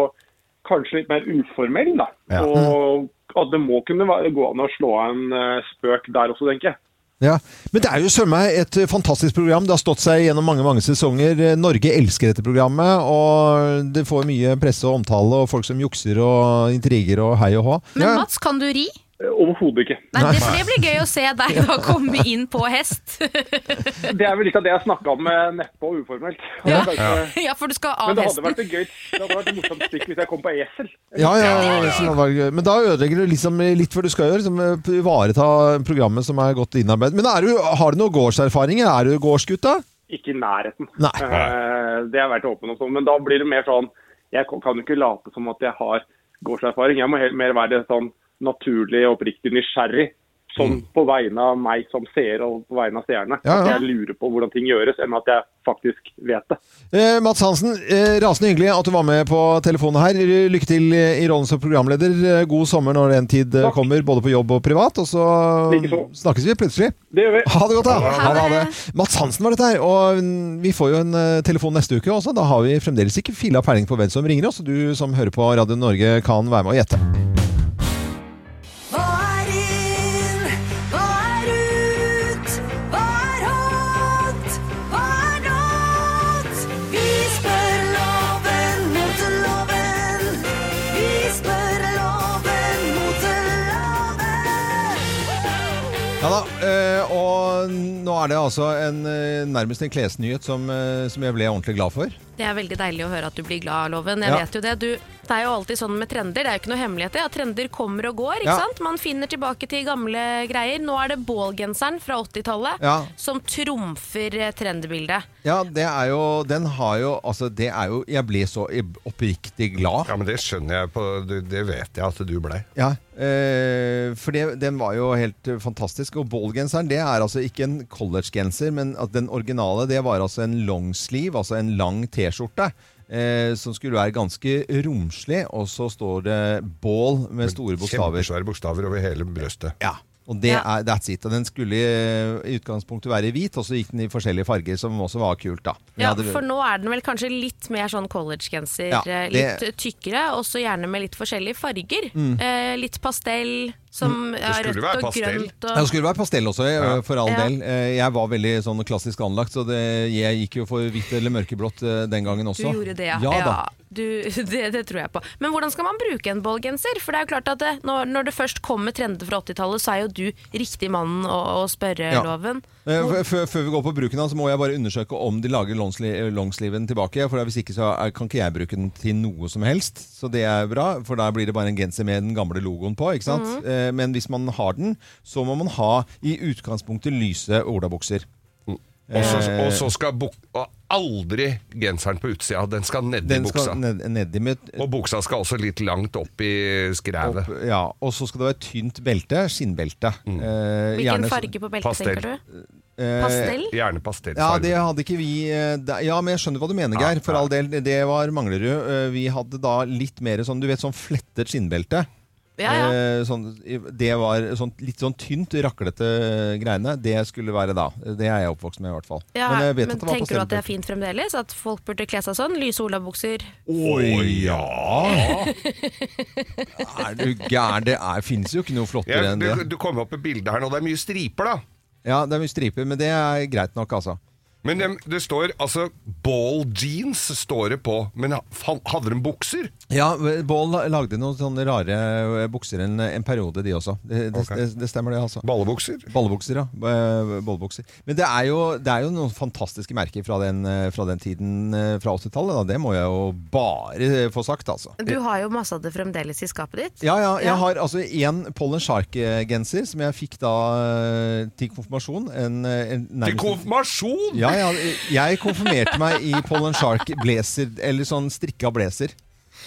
Speaker 9: kanskje litt mer uformell, da.
Speaker 1: Ja.
Speaker 9: Og at det må kunne være, gå an å slå av en eh, spøk der også, tenker jeg.
Speaker 1: Ja. Men det er jo sømme et eh, fantastisk program. Det har stått seg gjennom mange mange sesonger. Eh, Norge elsker dette programmet, og det får mye presse og omtale, og folk som jukser og intriger og hei og hå.
Speaker 10: Men
Speaker 1: Ja.
Speaker 10: Mats, kan du ri?
Speaker 9: Eh, Overhodet ikke.
Speaker 10: Nei, det, for det blir gøy å se deg da komme inn på hest.
Speaker 9: Det er vel litt av det jeg snakka om med nettpå og uformelt.
Speaker 10: Ja.
Speaker 9: Kanskje-
Speaker 10: Ja, for du skal av
Speaker 9: Men det hadde
Speaker 10: hesten.
Speaker 9: vært et gøy Det hadde vært et morsomt stikk hvis jeg kom på esel.
Speaker 1: Ja, ja, ja, så det var gøy. Men da ødelegger du liksom litt for du skal gjøre. Liksom, eh, ivareta programmet som er godt innarbeidet. Men er du, har du noe gårdserfaring? eller Er du gårdsgutt, da?
Speaker 9: Ikke i nærheten.
Speaker 1: Nei.
Speaker 9: Eh, det har jeg vært åpen om, sånn, men da blir det mer sånn Jeg kan jo ikke late som at jeg har gårdserfaring. Jeg må he- mer være det sånn naturlig og oppriktig nysgjerrig. Sånn på vegne av meg som seer og på vegne av seerne.
Speaker 1: Mm. Ja, ja.
Speaker 9: At jeg lurer på hvordan ting gjøres, enn at jeg faktisk vet det.
Speaker 1: Eh, Mats Hansen, eh, rasende hyggelig at du var med på telefonen her. Lykke til eh, i rollen som programleder. Eh, God sommer når den tid eh, kommer, både på jobb og privat. Og så
Speaker 9: Likeså.
Speaker 1: snakkes vi plutselig.
Speaker 9: Det gjør vi.
Speaker 1: Ha det godt, da! Ha det, ha det. Mats Hansen var dette her. Og mm, vi får jo en eh, telefon neste uke også. Da har vi fremdeles ikke filla peiling på hvem som ringer oss. Du som hører på Radio Norge, kan være med og gjette.
Speaker 7: Hva er inn? Hva er ut? Hva er hot? Hva er not? Vi spør loven mot loven. Vi spør loven mot loven.
Speaker 1: Ja da, eh, og nå er det altså en, eh, nærmest en klesnyhet som, eh, som jeg ble ordentlig glad for.
Speaker 3: Det er veldig deilig å høre at du blir glad av loven. Jeg
Speaker 1: Ja.
Speaker 3: vet jo det. Du, det er jo alltid sånn med trender. Det er jo ikke noe hemmelighet. det, at trender kommer og går. ikke
Speaker 1: Ja.
Speaker 3: sant? Man finner tilbake til gamle greier. Nå er det bålgenseren fra 80-tallet
Speaker 1: Ja.
Speaker 3: som trumfer eh, trendbildet.
Speaker 1: Ja, det er jo Den har jo Altså, det er jo Jeg ble så i- oppriktig glad.
Speaker 2: Ja, men det skjønner jeg på du- Det vet jeg at du blei.
Speaker 1: Ja. Eh, for det, den var jo helt eh, fantastisk. Og ballgenseren, det er altså ikke en collegegenser, men at den originale, det var altså en longsleeve, altså en lang T-skjorte. Eh, som skulle være ganske romslig, og så står det 'Ball' med store bokstaver.
Speaker 2: Kjempesvære bokstaver over hele brøstet.
Speaker 1: Ja. Og det er that's it. Og den skulle eh, i utgangspunktet være hvit, og så gikk den i forskjellige farger, som også var kult, da. Men
Speaker 3: Ja,
Speaker 1: hadde-
Speaker 3: For nå er den vel kanskje litt mer sånn collegegenser.
Speaker 1: Ja,
Speaker 3: eh,
Speaker 1: det-
Speaker 3: Litt tykkere, og så gjerne med litt forskjellige farger.
Speaker 1: Mm.
Speaker 3: Eh, litt pastell, som er
Speaker 2: skulle være
Speaker 3: rødt og
Speaker 2: pastell.
Speaker 3: grønt.
Speaker 1: Ja,
Speaker 3: Og...
Speaker 1: det skulle være pastell også, eh, for all
Speaker 3: Ja.
Speaker 1: del. Eh, Jeg var veldig sånn klassisk anlagt, så det, jeg gikk jo for hvitt eller mørkeblått eh, den gangen
Speaker 3: Du
Speaker 1: også.
Speaker 3: gjorde det, ja.
Speaker 1: Ja da.
Speaker 3: Du Du, det, det tror jeg på. Men hvordan skal man bruke en ballgenser? For det er jo klart at det, når, når det først kommer trender fra 80-tallet, så er jo du riktig mannen å, å spørre
Speaker 1: Ja.
Speaker 3: loven.
Speaker 1: Eh, f- Før før vi går på bruken av den, så må jeg bare undersøke om de lager longsli- longsleeven tilbake. For Hvis ikke så er- kan ikke jeg bruke den til noe som helst, så det er bra. For da blir det bare en genser med den gamle logoen på. ikke sant?
Speaker 11: Mhm.
Speaker 1: Eh, Men hvis man har den, så må man ha i utgangspunktet lyse olabukser. Eh.
Speaker 2: Og så- og så skal buk og aldri genseren på utsida. Den skal nedi
Speaker 1: Den
Speaker 2: buksa.
Speaker 1: skal ned, nedi med
Speaker 2: Og buksa skal også litt langt opp i skrevet.
Speaker 1: opp, ja, Og så skal det være et tynt belte. Skinnbelte. Eh,
Speaker 3: Hvilken
Speaker 1: gjerne så-
Speaker 3: farge på beltet
Speaker 1: Pastell.
Speaker 3: tenker du?
Speaker 1: Eh,
Speaker 3: Pastell?
Speaker 2: Gjerne pastell.
Speaker 1: Ja, det hadde ikke vi eh, da- Ja, men jeg skjønner hva du mener, Geir. For all del, det var Manglerud. Eh, Vi hadde da litt mer sånn, du vet, sånn flettet skinnbelte.
Speaker 3: Ja, ja.
Speaker 1: Eh, Sånn, det var sånn, litt sånn tynt, raklete greiene. Det skulle være da. Det er jeg oppvokst med, i hvert fall.
Speaker 3: Ja,
Speaker 1: Men
Speaker 3: men
Speaker 1: jeg vet at det var
Speaker 3: tenker du at det er
Speaker 1: pastellbelte.
Speaker 3: fint fremdeles? At folk burde kle seg sånn? Lyse olabukser?
Speaker 1: Oi, ja! er du gæren? Det er- finnes jo ikke noe flottere
Speaker 2: Ja,
Speaker 1: enn
Speaker 2: du,
Speaker 1: det.
Speaker 2: du kom opp med bildet her nå. Det er mye striper, da.
Speaker 1: Ja, det er mye striper, men det er greit nok, altså.
Speaker 2: Men det, det står altså Ball jeans står det på. Men ha- fa- hadde de bukser?
Speaker 1: Ja, Bål lagde noen sånne rare eh, bukser en, en periode, de også. Det, det,
Speaker 2: Ok.
Speaker 1: det, det stemmer, det. altså.
Speaker 2: Ballebukser?
Speaker 1: Ballebukser, ja. Eh, Ballebukser. Men det er, jo, det er jo noen fantastiske merker fra den, eh, fra den tiden, eh, fra 80-tallet. da. Det må jeg jo bare få sagt, altså.
Speaker 3: Du har jo masse av det fremdeles i skapet ditt.
Speaker 1: Ja, ja. Jeg har altså én Pollen Shark-genser som jeg fikk da eh, til konfirmasjon. En, eh, en,
Speaker 2: Til
Speaker 1: nærmest-
Speaker 2: konfirmasjon!
Speaker 1: Ja, ja, jeg konfirmerte meg i Pollen Shark-blazer, eller sånn strikka blazer.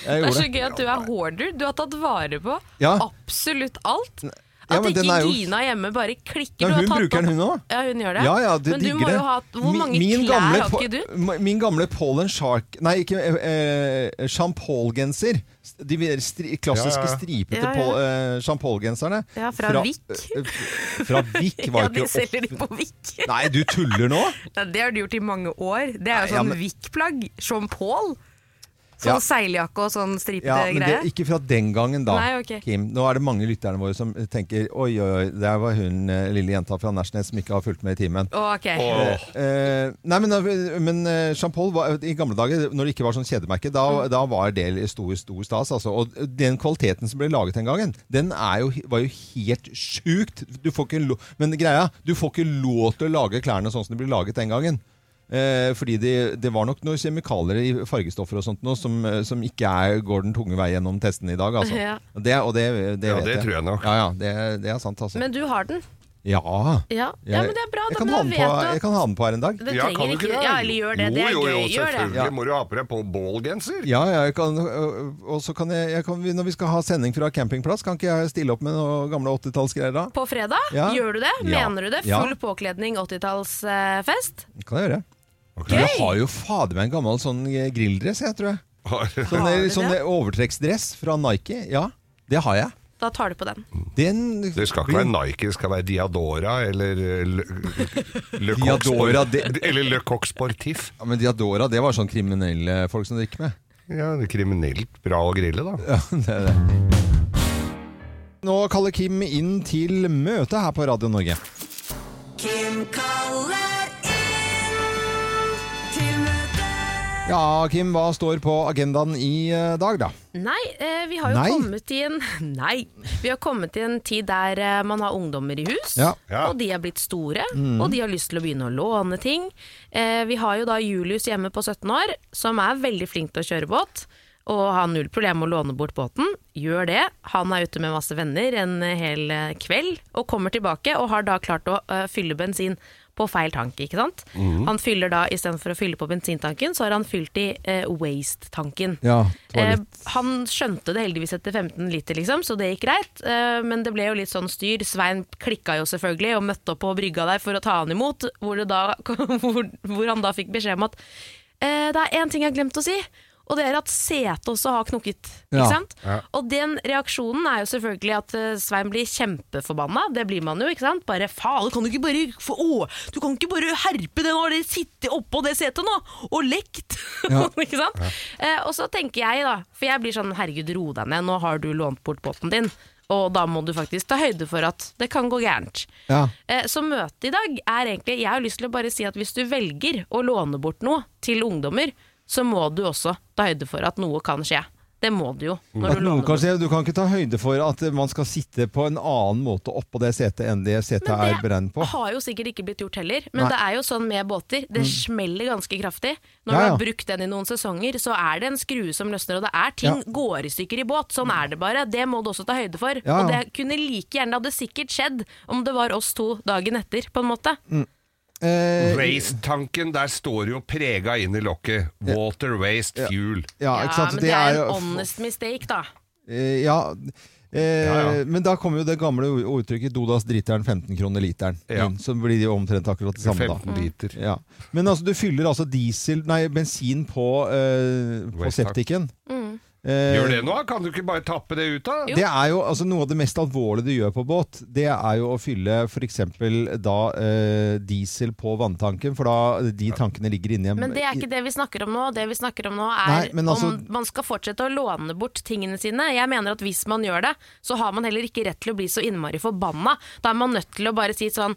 Speaker 1: Jeg
Speaker 10: Det er
Speaker 1: gjorde
Speaker 10: så gøy at du er hoarder. Du har tatt vare på
Speaker 1: Ja.
Speaker 10: absolutt alt.
Speaker 1: Ja,
Speaker 10: At
Speaker 1: men den
Speaker 10: ikke
Speaker 1: er jo-
Speaker 10: Gina hjemme bare klikker.
Speaker 1: Nei,
Speaker 10: Du har
Speaker 1: hun
Speaker 10: tatt
Speaker 1: bruker den,
Speaker 10: opp-
Speaker 1: hun også.
Speaker 10: Ja, hun gjør det.
Speaker 1: Ja, ja, det
Speaker 10: men du
Speaker 1: digger
Speaker 10: må
Speaker 1: det.
Speaker 10: jo ha Hvor
Speaker 1: Mi-
Speaker 10: mange
Speaker 1: min
Speaker 10: klær
Speaker 1: gamle
Speaker 10: har
Speaker 1: po-
Speaker 10: ikke du?
Speaker 1: m- Min gamle Paul and Shark Nei, ikke eh, eh, Jean Paul-genser. De mer stri, klassiske
Speaker 11: Ja, ja.
Speaker 1: stripete
Speaker 11: Ja, ja.
Speaker 1: Paul, eh, Jean Paul-genserne.
Speaker 11: Ja, fra Vik.
Speaker 1: eh, fra Vik var
Speaker 10: Ja, de
Speaker 1: ikke
Speaker 10: selger de
Speaker 1: opp-
Speaker 10: på Vik.
Speaker 1: Nei, du tuller nå?
Speaker 10: Ja, det har du gjort i mange år. Det er jo
Speaker 1: Nei, ja,
Speaker 10: sånn
Speaker 1: men-
Speaker 10: Vik-plagg. Jean Paul. Sånn
Speaker 1: Ja.
Speaker 10: seiljakke og sånn stripete
Speaker 1: Ja, men det,
Speaker 10: greie.
Speaker 1: ikke fra den gangen, da.
Speaker 10: Nei, ok.
Speaker 1: Kim. Nå er det mange lytterne våre som tenker Oi, oi, oi, der var hun eh, lille jenta fra Nesjnes som ikke har fulgt med i timen.
Speaker 10: Å, ok.
Speaker 1: Eh, eh, nei, men, eh, men eh, Jean Paul var, i gamle dager, når det ikke var sånn kjedemerke, da,
Speaker 3: Mm.
Speaker 1: da var det stor, stor stas. Altså. Og den kvaliteten som ble laget den gangen, den er jo, var jo helt sjukt. Du får ikke lo men greia, du får ikke lov til å lage klærne sånn som de ble laget den gangen. Eh, fordi det, det var nok noen kjemikalier i fargestoffer og sånt nå, som, eh, som ikke er, går den tunge vei gjennom testene i dag. Altså.
Speaker 3: Ja.
Speaker 1: Det, og det, det
Speaker 2: Ja,
Speaker 1: vet
Speaker 2: det tror jeg nok.
Speaker 1: Ja, ja, det, det er sant, altså.
Speaker 3: Men du har den.
Speaker 1: ja.
Speaker 3: Ja, ja, men det er bra.
Speaker 1: Jeg
Speaker 3: da,
Speaker 1: kan,
Speaker 3: men
Speaker 1: ha
Speaker 3: da
Speaker 1: den
Speaker 3: vet
Speaker 1: på,
Speaker 3: du at-
Speaker 1: jeg kan ha den på her en dag.
Speaker 3: Den trenger
Speaker 2: kan du
Speaker 3: ikke
Speaker 2: ikke det?
Speaker 3: Ja, eller gjør det.
Speaker 2: Jo,
Speaker 3: Det er
Speaker 2: jo, jo,
Speaker 3: gøy. Gjør det.
Speaker 2: selvfølgelig må du ha på deg på ballgenser.
Speaker 1: Ja, ja, jeg kan, øh, og så kan jeg, jeg kan, når vi skal ha sending fra campingplass, kan ikke jeg stille opp med noen gamle 80-tallsgreier da?
Speaker 3: På fredag?
Speaker 1: Ja.
Speaker 3: Gjør du det?
Speaker 1: Ja.
Speaker 3: Mener du det?
Speaker 1: Ja.
Speaker 3: Full påkledning, 80-tallsfest?
Speaker 1: Det kan jeg gjøre. Jeg har jo fader meg en gammel sånn eh, grilldress, jeg tror jeg. Sånn,
Speaker 3: Har
Speaker 1: eh,
Speaker 3: du
Speaker 1: sånn
Speaker 3: det?
Speaker 1: eh, overtrekksdress fra Nike, ja. Det har jeg.
Speaker 3: Da tar du på den.
Speaker 1: Den
Speaker 2: Det skal ikke være Nike, det skal være Diadora eller eh, Le, Le Coq Sport-
Speaker 1: Diadora, det-
Speaker 2: Eller Le Coq Sportif.
Speaker 1: Ja, men Diadora, det var sånn kriminelle folk som drikker med.
Speaker 2: Ja, det er kriminelt bra å grille, da.
Speaker 1: Ja, det er det. Nå kaller Kim inn til møte her på Radio Norge.
Speaker 7: Kim kaller inn til møte.
Speaker 1: Ja, Kim, hva står på agendaen i eh, dag da?
Speaker 3: Nei, eh, vi har jo
Speaker 1: Nei.
Speaker 3: kommet i en Nei. Vi har kommet i en tid der eh, man har ungdommer i hus,
Speaker 1: Ja. Ja.
Speaker 3: og de er blitt store,
Speaker 10: Mm.
Speaker 3: og de har lyst til å begynne å låne ting. Eh, vi har jo da Julius hjemme på 17 år, som er veldig flink til å kjøre båt. Og har null problem med å låne bort båten. Gjør det. Han er ute med masse venner en eh, hel eh, kveld, og kommer tilbake og har da klart å eh, fylle bensin på feil tank, ikke sant.
Speaker 1: Mm.
Speaker 10: Mhm.
Speaker 3: Han fyller da, istedenfor å fylle på bensintanken, så har han fylt i eh, waste-tanken.
Speaker 1: Ja,
Speaker 3: Eh, han skjønte det heldigvis etter 15 liter, liksom, så det gikk greit. Eh, men det ble jo litt sånn styr. Svein klikka jo selvfølgelig og møtte opp på brygga der for å ta han imot, hvor, det da, hvor, hvor han da fikk beskjed om at eh, det er én ting jeg har glemt å si, og det er at setet også har knukket.
Speaker 10: Ja.
Speaker 3: Ikke sant?
Speaker 10: Ja.
Speaker 3: Og den reaksjonen er jo selvfølgelig at eh, Svein blir kjempeforbanna. Det blir man jo, ikke sant? Bare faen, kan du ikke bare få, å, Du kan ikke bare herpe det nå! Dere sitter oppå det setet nå og lekt!
Speaker 10: Ja.
Speaker 3: ikke sant? Eh, og så tenker jeg, da, for jeg blir sånn herregud, ro deg ned, nå har du lånt bort båten din. Og da må du faktisk ta høyde for at det kan gå gærent.
Speaker 1: Ja.
Speaker 3: Eh, Så møtet i dag er egentlig Jeg har lyst til å bare si at hvis du velger å låne bort noe til ungdommer, så må du også ta høyde for at noe kan skje. Det må du jo. Når
Speaker 1: At
Speaker 3: du
Speaker 1: noen
Speaker 3: låner
Speaker 1: kan si, du kan ikke ta høyde for at man skal sitte på en annen måte oppå det setet enn det setet er beregnet på.
Speaker 3: har jo sikkert ikke blitt gjort heller, men
Speaker 1: Nei.
Speaker 3: det er jo sånn med båter. Det
Speaker 1: Mm.
Speaker 3: smeller ganske kraftig. Når
Speaker 1: Ja,
Speaker 3: du
Speaker 1: ja.
Speaker 3: har brukt den i noen sesonger, så er det en skrue som løsner, og det er ting
Speaker 1: Ja.
Speaker 3: går i stykker i båt. Sånn er det bare. Det må du også ta høyde for.
Speaker 1: Ja, ja.
Speaker 3: Og det kunne like gjerne det hadde sikkert skjedd om det var oss to dagen etter, på en måte.
Speaker 1: Eh,
Speaker 2: Waste-tanken, der står jo prega inn i lokket. Water, waste, fuel.
Speaker 1: Ja, ikke sant?
Speaker 3: men
Speaker 1: Det
Speaker 3: det er
Speaker 1: er
Speaker 3: en
Speaker 1: jo-
Speaker 3: honest mistake, da.
Speaker 1: Eh, ja, eh, Men da kommer jo det gamle o- uttrykket 'Dodas driteren 15 kroner literen'.
Speaker 2: Ja.
Speaker 1: inn, Så blir det jo omtrent akkurat det samme, da.
Speaker 2: 15 liter.
Speaker 1: Ja. Men altså, du fyller altså diesel, nei, bensin på, eh, på
Speaker 2: Waste-tank.
Speaker 1: septiken.
Speaker 3: Mm.
Speaker 1: Eh,
Speaker 2: Gjør det nå? Kan du ikke bare tappe det ut, da?
Speaker 1: Det er jo altså, Noe av det mest alvorlige du gjør på båt, det er jo å fylle f.eks. da eh, diesel på vanntanken, for da de tankene ligger inni en
Speaker 3: Men det er ikke det vi snakker om nå. Det vi snakker om nå
Speaker 1: Nei,
Speaker 3: er
Speaker 1: men altså-
Speaker 3: om man skal fortsette å låne bort tingene sine. Jeg mener at hvis man gjør det, så har man heller ikke rett til å bli så innmari forbanna. Da er man nødt til å bare si sånn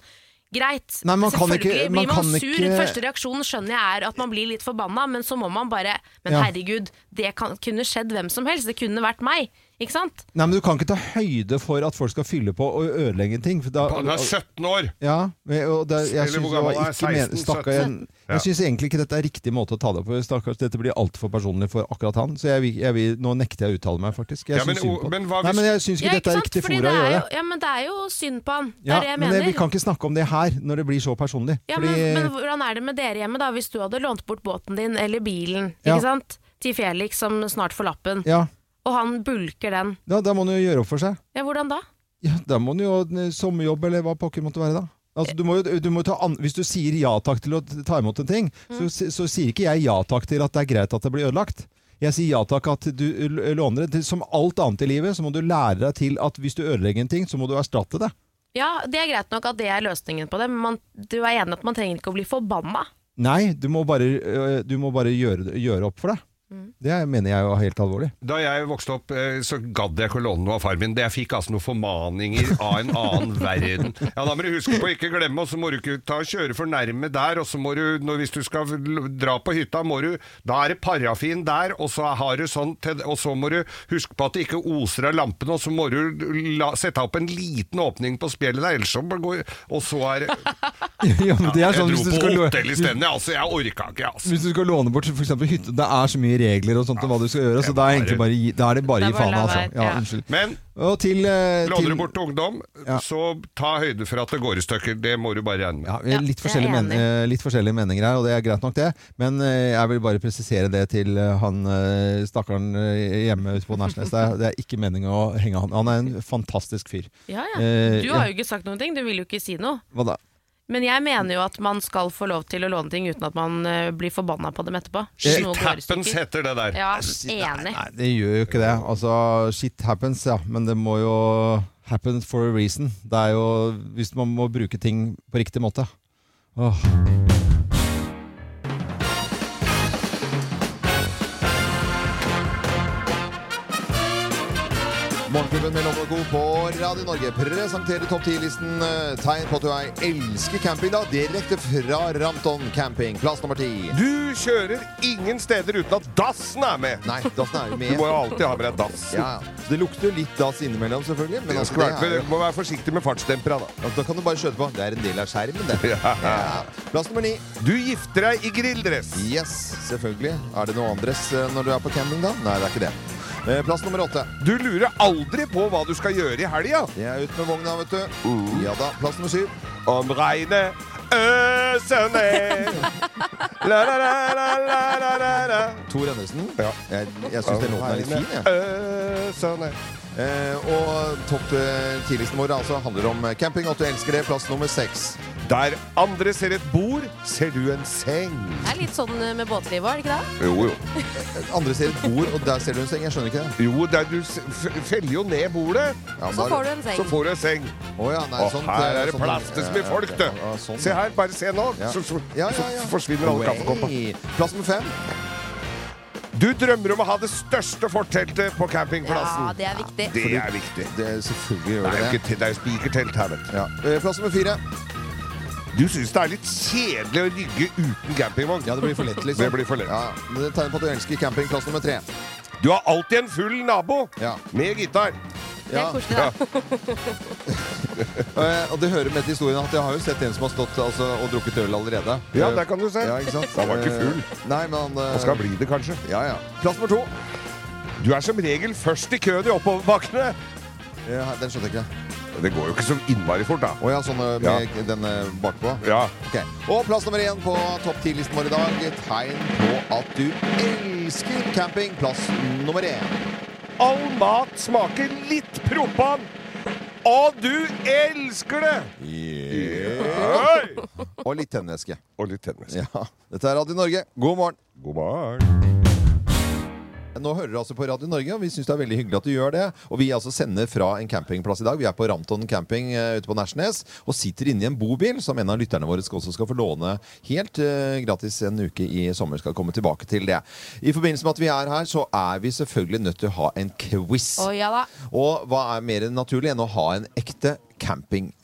Speaker 3: Greit,
Speaker 1: Nei, man kan
Speaker 3: selvfølgelig
Speaker 1: ikke- man
Speaker 3: blir man
Speaker 1: kan
Speaker 3: sur.
Speaker 1: ikke-
Speaker 3: Første reaksjonen skjønner jeg er at man blir litt forbanna, men så må man bare Men
Speaker 1: Ja.
Speaker 3: herregud, det kan, kunne skjedd hvem som helst. Det kunne vært meg. Ikke sant?
Speaker 1: Nei, men Du kan ikke ta høyde for at folk skal fylle på og ødelegge en ting. For da,
Speaker 2: Han er 17 år!
Speaker 1: Ja, men- og det, jeg
Speaker 2: Eller
Speaker 1: synes
Speaker 2: hvor
Speaker 1: det var
Speaker 2: gammel han er,
Speaker 1: ikke men-
Speaker 2: 16,
Speaker 1: stakkar,
Speaker 2: 17.
Speaker 1: jeg,
Speaker 2: Ja.
Speaker 1: jeg synes egentlig ikke dette er riktig måte å ta det på. Stakkars, dette blir altfor personlig for akkurat han. Så jeg, vil- jeg, vil- nå nekter jeg å uttale meg, faktisk. Jeg
Speaker 2: Ja, men
Speaker 1: synes synd
Speaker 2: o-
Speaker 1: på han.
Speaker 2: men hva
Speaker 1: Nei,
Speaker 2: hvis-
Speaker 1: men jeg syns ikke
Speaker 3: Ja,
Speaker 1: dette er
Speaker 3: sant?
Speaker 1: riktig fora
Speaker 3: Fordi
Speaker 1: å
Speaker 3: det er
Speaker 1: gjøre
Speaker 3: jo- Ja, men det er jo synd på han. Det
Speaker 1: Ja,
Speaker 3: er det jeg
Speaker 1: men
Speaker 3: mener.
Speaker 1: det, vi kan ikke snakke om det her, når det blir så personlig.
Speaker 3: Ja,
Speaker 1: fordi,
Speaker 3: men, men hvordan er det med dere hjemme da, hvis du hadde lånt bort båten din eller bilen
Speaker 1: Ja.
Speaker 3: ikke sant? til Felix som snart får lappen,
Speaker 1: Ja.
Speaker 3: og han bulker den?
Speaker 1: da, da må han jo gjøre opp for seg.
Speaker 3: Ja, hvordan da?
Speaker 1: Ja, da må han jo ha en eh, sommerjobb, eller hva pokker måtte være da. Altså, du må, jo- du må ta an Hvis du sier ja takk til å t- ta imot en ting, så, si- så sier ikke jeg ja takk til at det er greit at det blir ødelagt. Jeg sier ja takk at du l- låner det. Til- Som alt annet i livet, så må du lære deg til at hvis du ødelegger en ting, så må du erstatte det.
Speaker 3: Ja, det er greit nok at det er løsningen på det, men man, du er enig at man trenger ikke å bli forbanna?
Speaker 1: Nei, du må bare, øh, du må bare gjøre, det- gjøre opp for det. Det er- mener jeg jo er helt alvorlig.
Speaker 2: Da jeg vokste opp, eh, så gadd jeg ikke å låne noe av far min. Det- Jeg fikk altså noen formaninger av en annen verden. Ja, Da må du huske på å ikke glemme, og så må du ikke ta og kjøre for nærme der. Og så må du, når, hvis du skal l- dra på hytta, må du, da er det parafin der, og så har du sånn til, Og så må du huske på at det ikke oser av lampene, og så må du la, sette opp en liten åpning på spjeldet der, ellers så går Og så er det-
Speaker 1: ja, men det er sånn,
Speaker 2: Jeg
Speaker 1: hvis du
Speaker 2: dro
Speaker 1: skal
Speaker 2: på
Speaker 1: lå-
Speaker 2: hotell isteden, jeg, altså. Jeg orka ikke, altså.
Speaker 1: Hvis du skal låne bort for eksempel hytte, det er så mye regler og sånt om hva du skal gjøre, så da er, egentlig bare, gi- da er det bare å
Speaker 2: Det er
Speaker 1: gi
Speaker 2: bare
Speaker 1: faen,
Speaker 2: å la
Speaker 1: altså.
Speaker 2: være,
Speaker 1: Ja,
Speaker 2: ja.
Speaker 1: unnskyld.
Speaker 2: Men
Speaker 1: og til, eh,
Speaker 2: Låner
Speaker 1: til
Speaker 2: du bort til ungdom, så ta høyde for at det går i stykker. Det må du bare regne med.
Speaker 1: ja, vi har litt, forskjellige men, eh, litt forskjellige meninger her, og det er greit nok det, men eh, jeg vil bare presisere det til eh, han eh, stakkaren eh, hjemme ute på Nærsnes. Det er, det er ikke meningen å henge han. Han er en fantastisk fyr.
Speaker 3: Ja ja.
Speaker 1: Eh,
Speaker 3: Du har jo ikke sagt noen ting, du vil jo ikke si noe.
Speaker 1: Hva da?
Speaker 3: Men jeg mener jo at man skal få lov til å låne ting uten at man eh, blir forbanna på dem etterpå.
Speaker 1: Shit
Speaker 3: Noe går i
Speaker 1: happens
Speaker 3: stykker.
Speaker 1: heter det der.
Speaker 3: Ja,
Speaker 1: Shit,
Speaker 3: enig.
Speaker 1: Eh, Nei, det gjør jo ikke det. Altså, shit happens, ja. Men det må jo happen for a reason. Det er jo hvis man må bruke ting på riktig måte. Åh. Morgenklubben med Loven og Co. på Radio Norge presenterer topp 10-listen eh, tegn på at du er elsker camping, da, direkte fra Ramton camping. Plass nummer ti.
Speaker 2: Du kjører ingen steder uten at dassen er med!
Speaker 1: Nei, dassen er jo med.
Speaker 2: Du må jo alltid ha med deg dassen.
Speaker 1: Ja, ja. Det lukter jo litt dass innimellom, selvfølgelig. Men altså,
Speaker 2: Skulle
Speaker 1: det
Speaker 2: vært-
Speaker 1: er,
Speaker 2: men du må være forsiktig med fartsdempera, da.
Speaker 1: jo- da kan du bare skjøte på. Det er en del av skjermen, det. Ja. Plass nummer ni.
Speaker 2: Du gifter deg i grilldress.
Speaker 1: Yes, selvfølgelig. Er det noe andres eh, når du er på camping, da? Nei, det er ikke det. Eh, Plass nummer åtte.
Speaker 2: Du lurer aldri på hva du skal gjøre i helga.
Speaker 1: Det er ut med vogna, vet du. Ja da. Plass nummer syv.
Speaker 2: Om regnet øser ned la, la, la, la, la, la, la, la.
Speaker 1: Tor Endresen.
Speaker 2: Ja.
Speaker 1: Jeg, jeg syns den låten er litt fin, jeg.
Speaker 2: Øser ned.
Speaker 1: Eh, og topp tidligsten vår altså handler om camping. At du elsker det. Plass nummer seks.
Speaker 2: Der andre ser et bord, ser du en seng.
Speaker 3: Det er litt sånn med båtlivet, er det ikke det?
Speaker 2: Jo, jo.
Speaker 1: Andre ser et bord, og der ser du en seng. Jeg skjønner ikke det.
Speaker 2: Jo, der du s- f- feller jo ned bordet.
Speaker 1: Ja,
Speaker 3: Så får du en seng.
Speaker 2: Så får du en seng.
Speaker 1: Å ja, nei,
Speaker 2: Og
Speaker 1: sånt,
Speaker 2: her
Speaker 1: eh,
Speaker 2: er det
Speaker 1: sånt-
Speaker 2: plass til så mye
Speaker 1: ja,
Speaker 2: folk,
Speaker 1: ok,
Speaker 2: du.
Speaker 1: ja, sånn,
Speaker 2: Se
Speaker 1: ja.
Speaker 2: her, bare se nå.
Speaker 1: Ja.
Speaker 2: Så, så,
Speaker 1: Ja, ja,
Speaker 2: så
Speaker 1: ja.
Speaker 2: forsvinner alle kaffekoppene.
Speaker 1: Way. Plass nummer fem.
Speaker 2: Du drømmer om å ha det største forteltet på
Speaker 3: Ja,
Speaker 2: campingplassen.
Speaker 3: det altså- er viktig.
Speaker 2: Det
Speaker 1: Fordi-
Speaker 2: er viktig.
Speaker 1: Det, selvfølgelig
Speaker 2: Det
Speaker 1: gjør
Speaker 2: er jo
Speaker 1: det det.
Speaker 2: ikke- det er jo spikertelt her, vet du.
Speaker 1: Ja. Eh, Plass nummer fire.
Speaker 2: Du syns det er litt kjedelig å rygge uten campingvogn?
Speaker 1: Ja, det blir for lett, liksom.
Speaker 2: Det blir for lett.
Speaker 1: Ja, det tegner på at du elsker campingplass nummer tre.
Speaker 2: Du har alltid en full nabo med gitar.
Speaker 1: Det er Ja. koselig, da. Eh, og det hører med til historien at jeg har jo sett en som har stått altså, og drukket øl allerede.
Speaker 2: Ja,
Speaker 1: Eh,
Speaker 2: der kan du se.
Speaker 1: Ja, ikke sant?
Speaker 2: Han var ikke
Speaker 1: Eh,
Speaker 2: full.
Speaker 1: Nei, men han eh,
Speaker 2: Han skal bli det, kanskje.
Speaker 1: Ja, ja. Plass nummer to.
Speaker 2: Du er som regel først i køen i oppoverbakkene.
Speaker 1: Ja, den skjønte jeg ikke.
Speaker 2: Det går jo ikke så innmari fort, da.
Speaker 1: Å ja, sånn eh, med den eh, bakpå?
Speaker 2: Ja.
Speaker 1: Ok. Og plass nummer én på topp ti-listen vår i dag. Tegn på at du elsker camping. Plass nummer én.
Speaker 2: All mat smaker litt propan, og du elsker det!
Speaker 1: Og litt tenneske.
Speaker 2: Og litt tennis.
Speaker 1: Ja. Dette er Radio Norge. God morgen.
Speaker 2: God morgen.
Speaker 1: Nå hører du altså på Radio Norge, og vi syns det er veldig hyggelig at du gjør det. Og vi altså sender fra en campingplass i dag. Vi er på Ramton camping eh, ute på Nesjnes og sitter inne i en bobil som en av lytterne våre skal, også skal få låne helt eh, gratis en uke i sommer. Skal komme tilbake til det. I forbindelse med at vi er her, så er vi selvfølgelig nødt til å ha en quiz.
Speaker 3: Å ja da.
Speaker 1: Og hva er mer naturlig enn å ha en ekte campingquiz?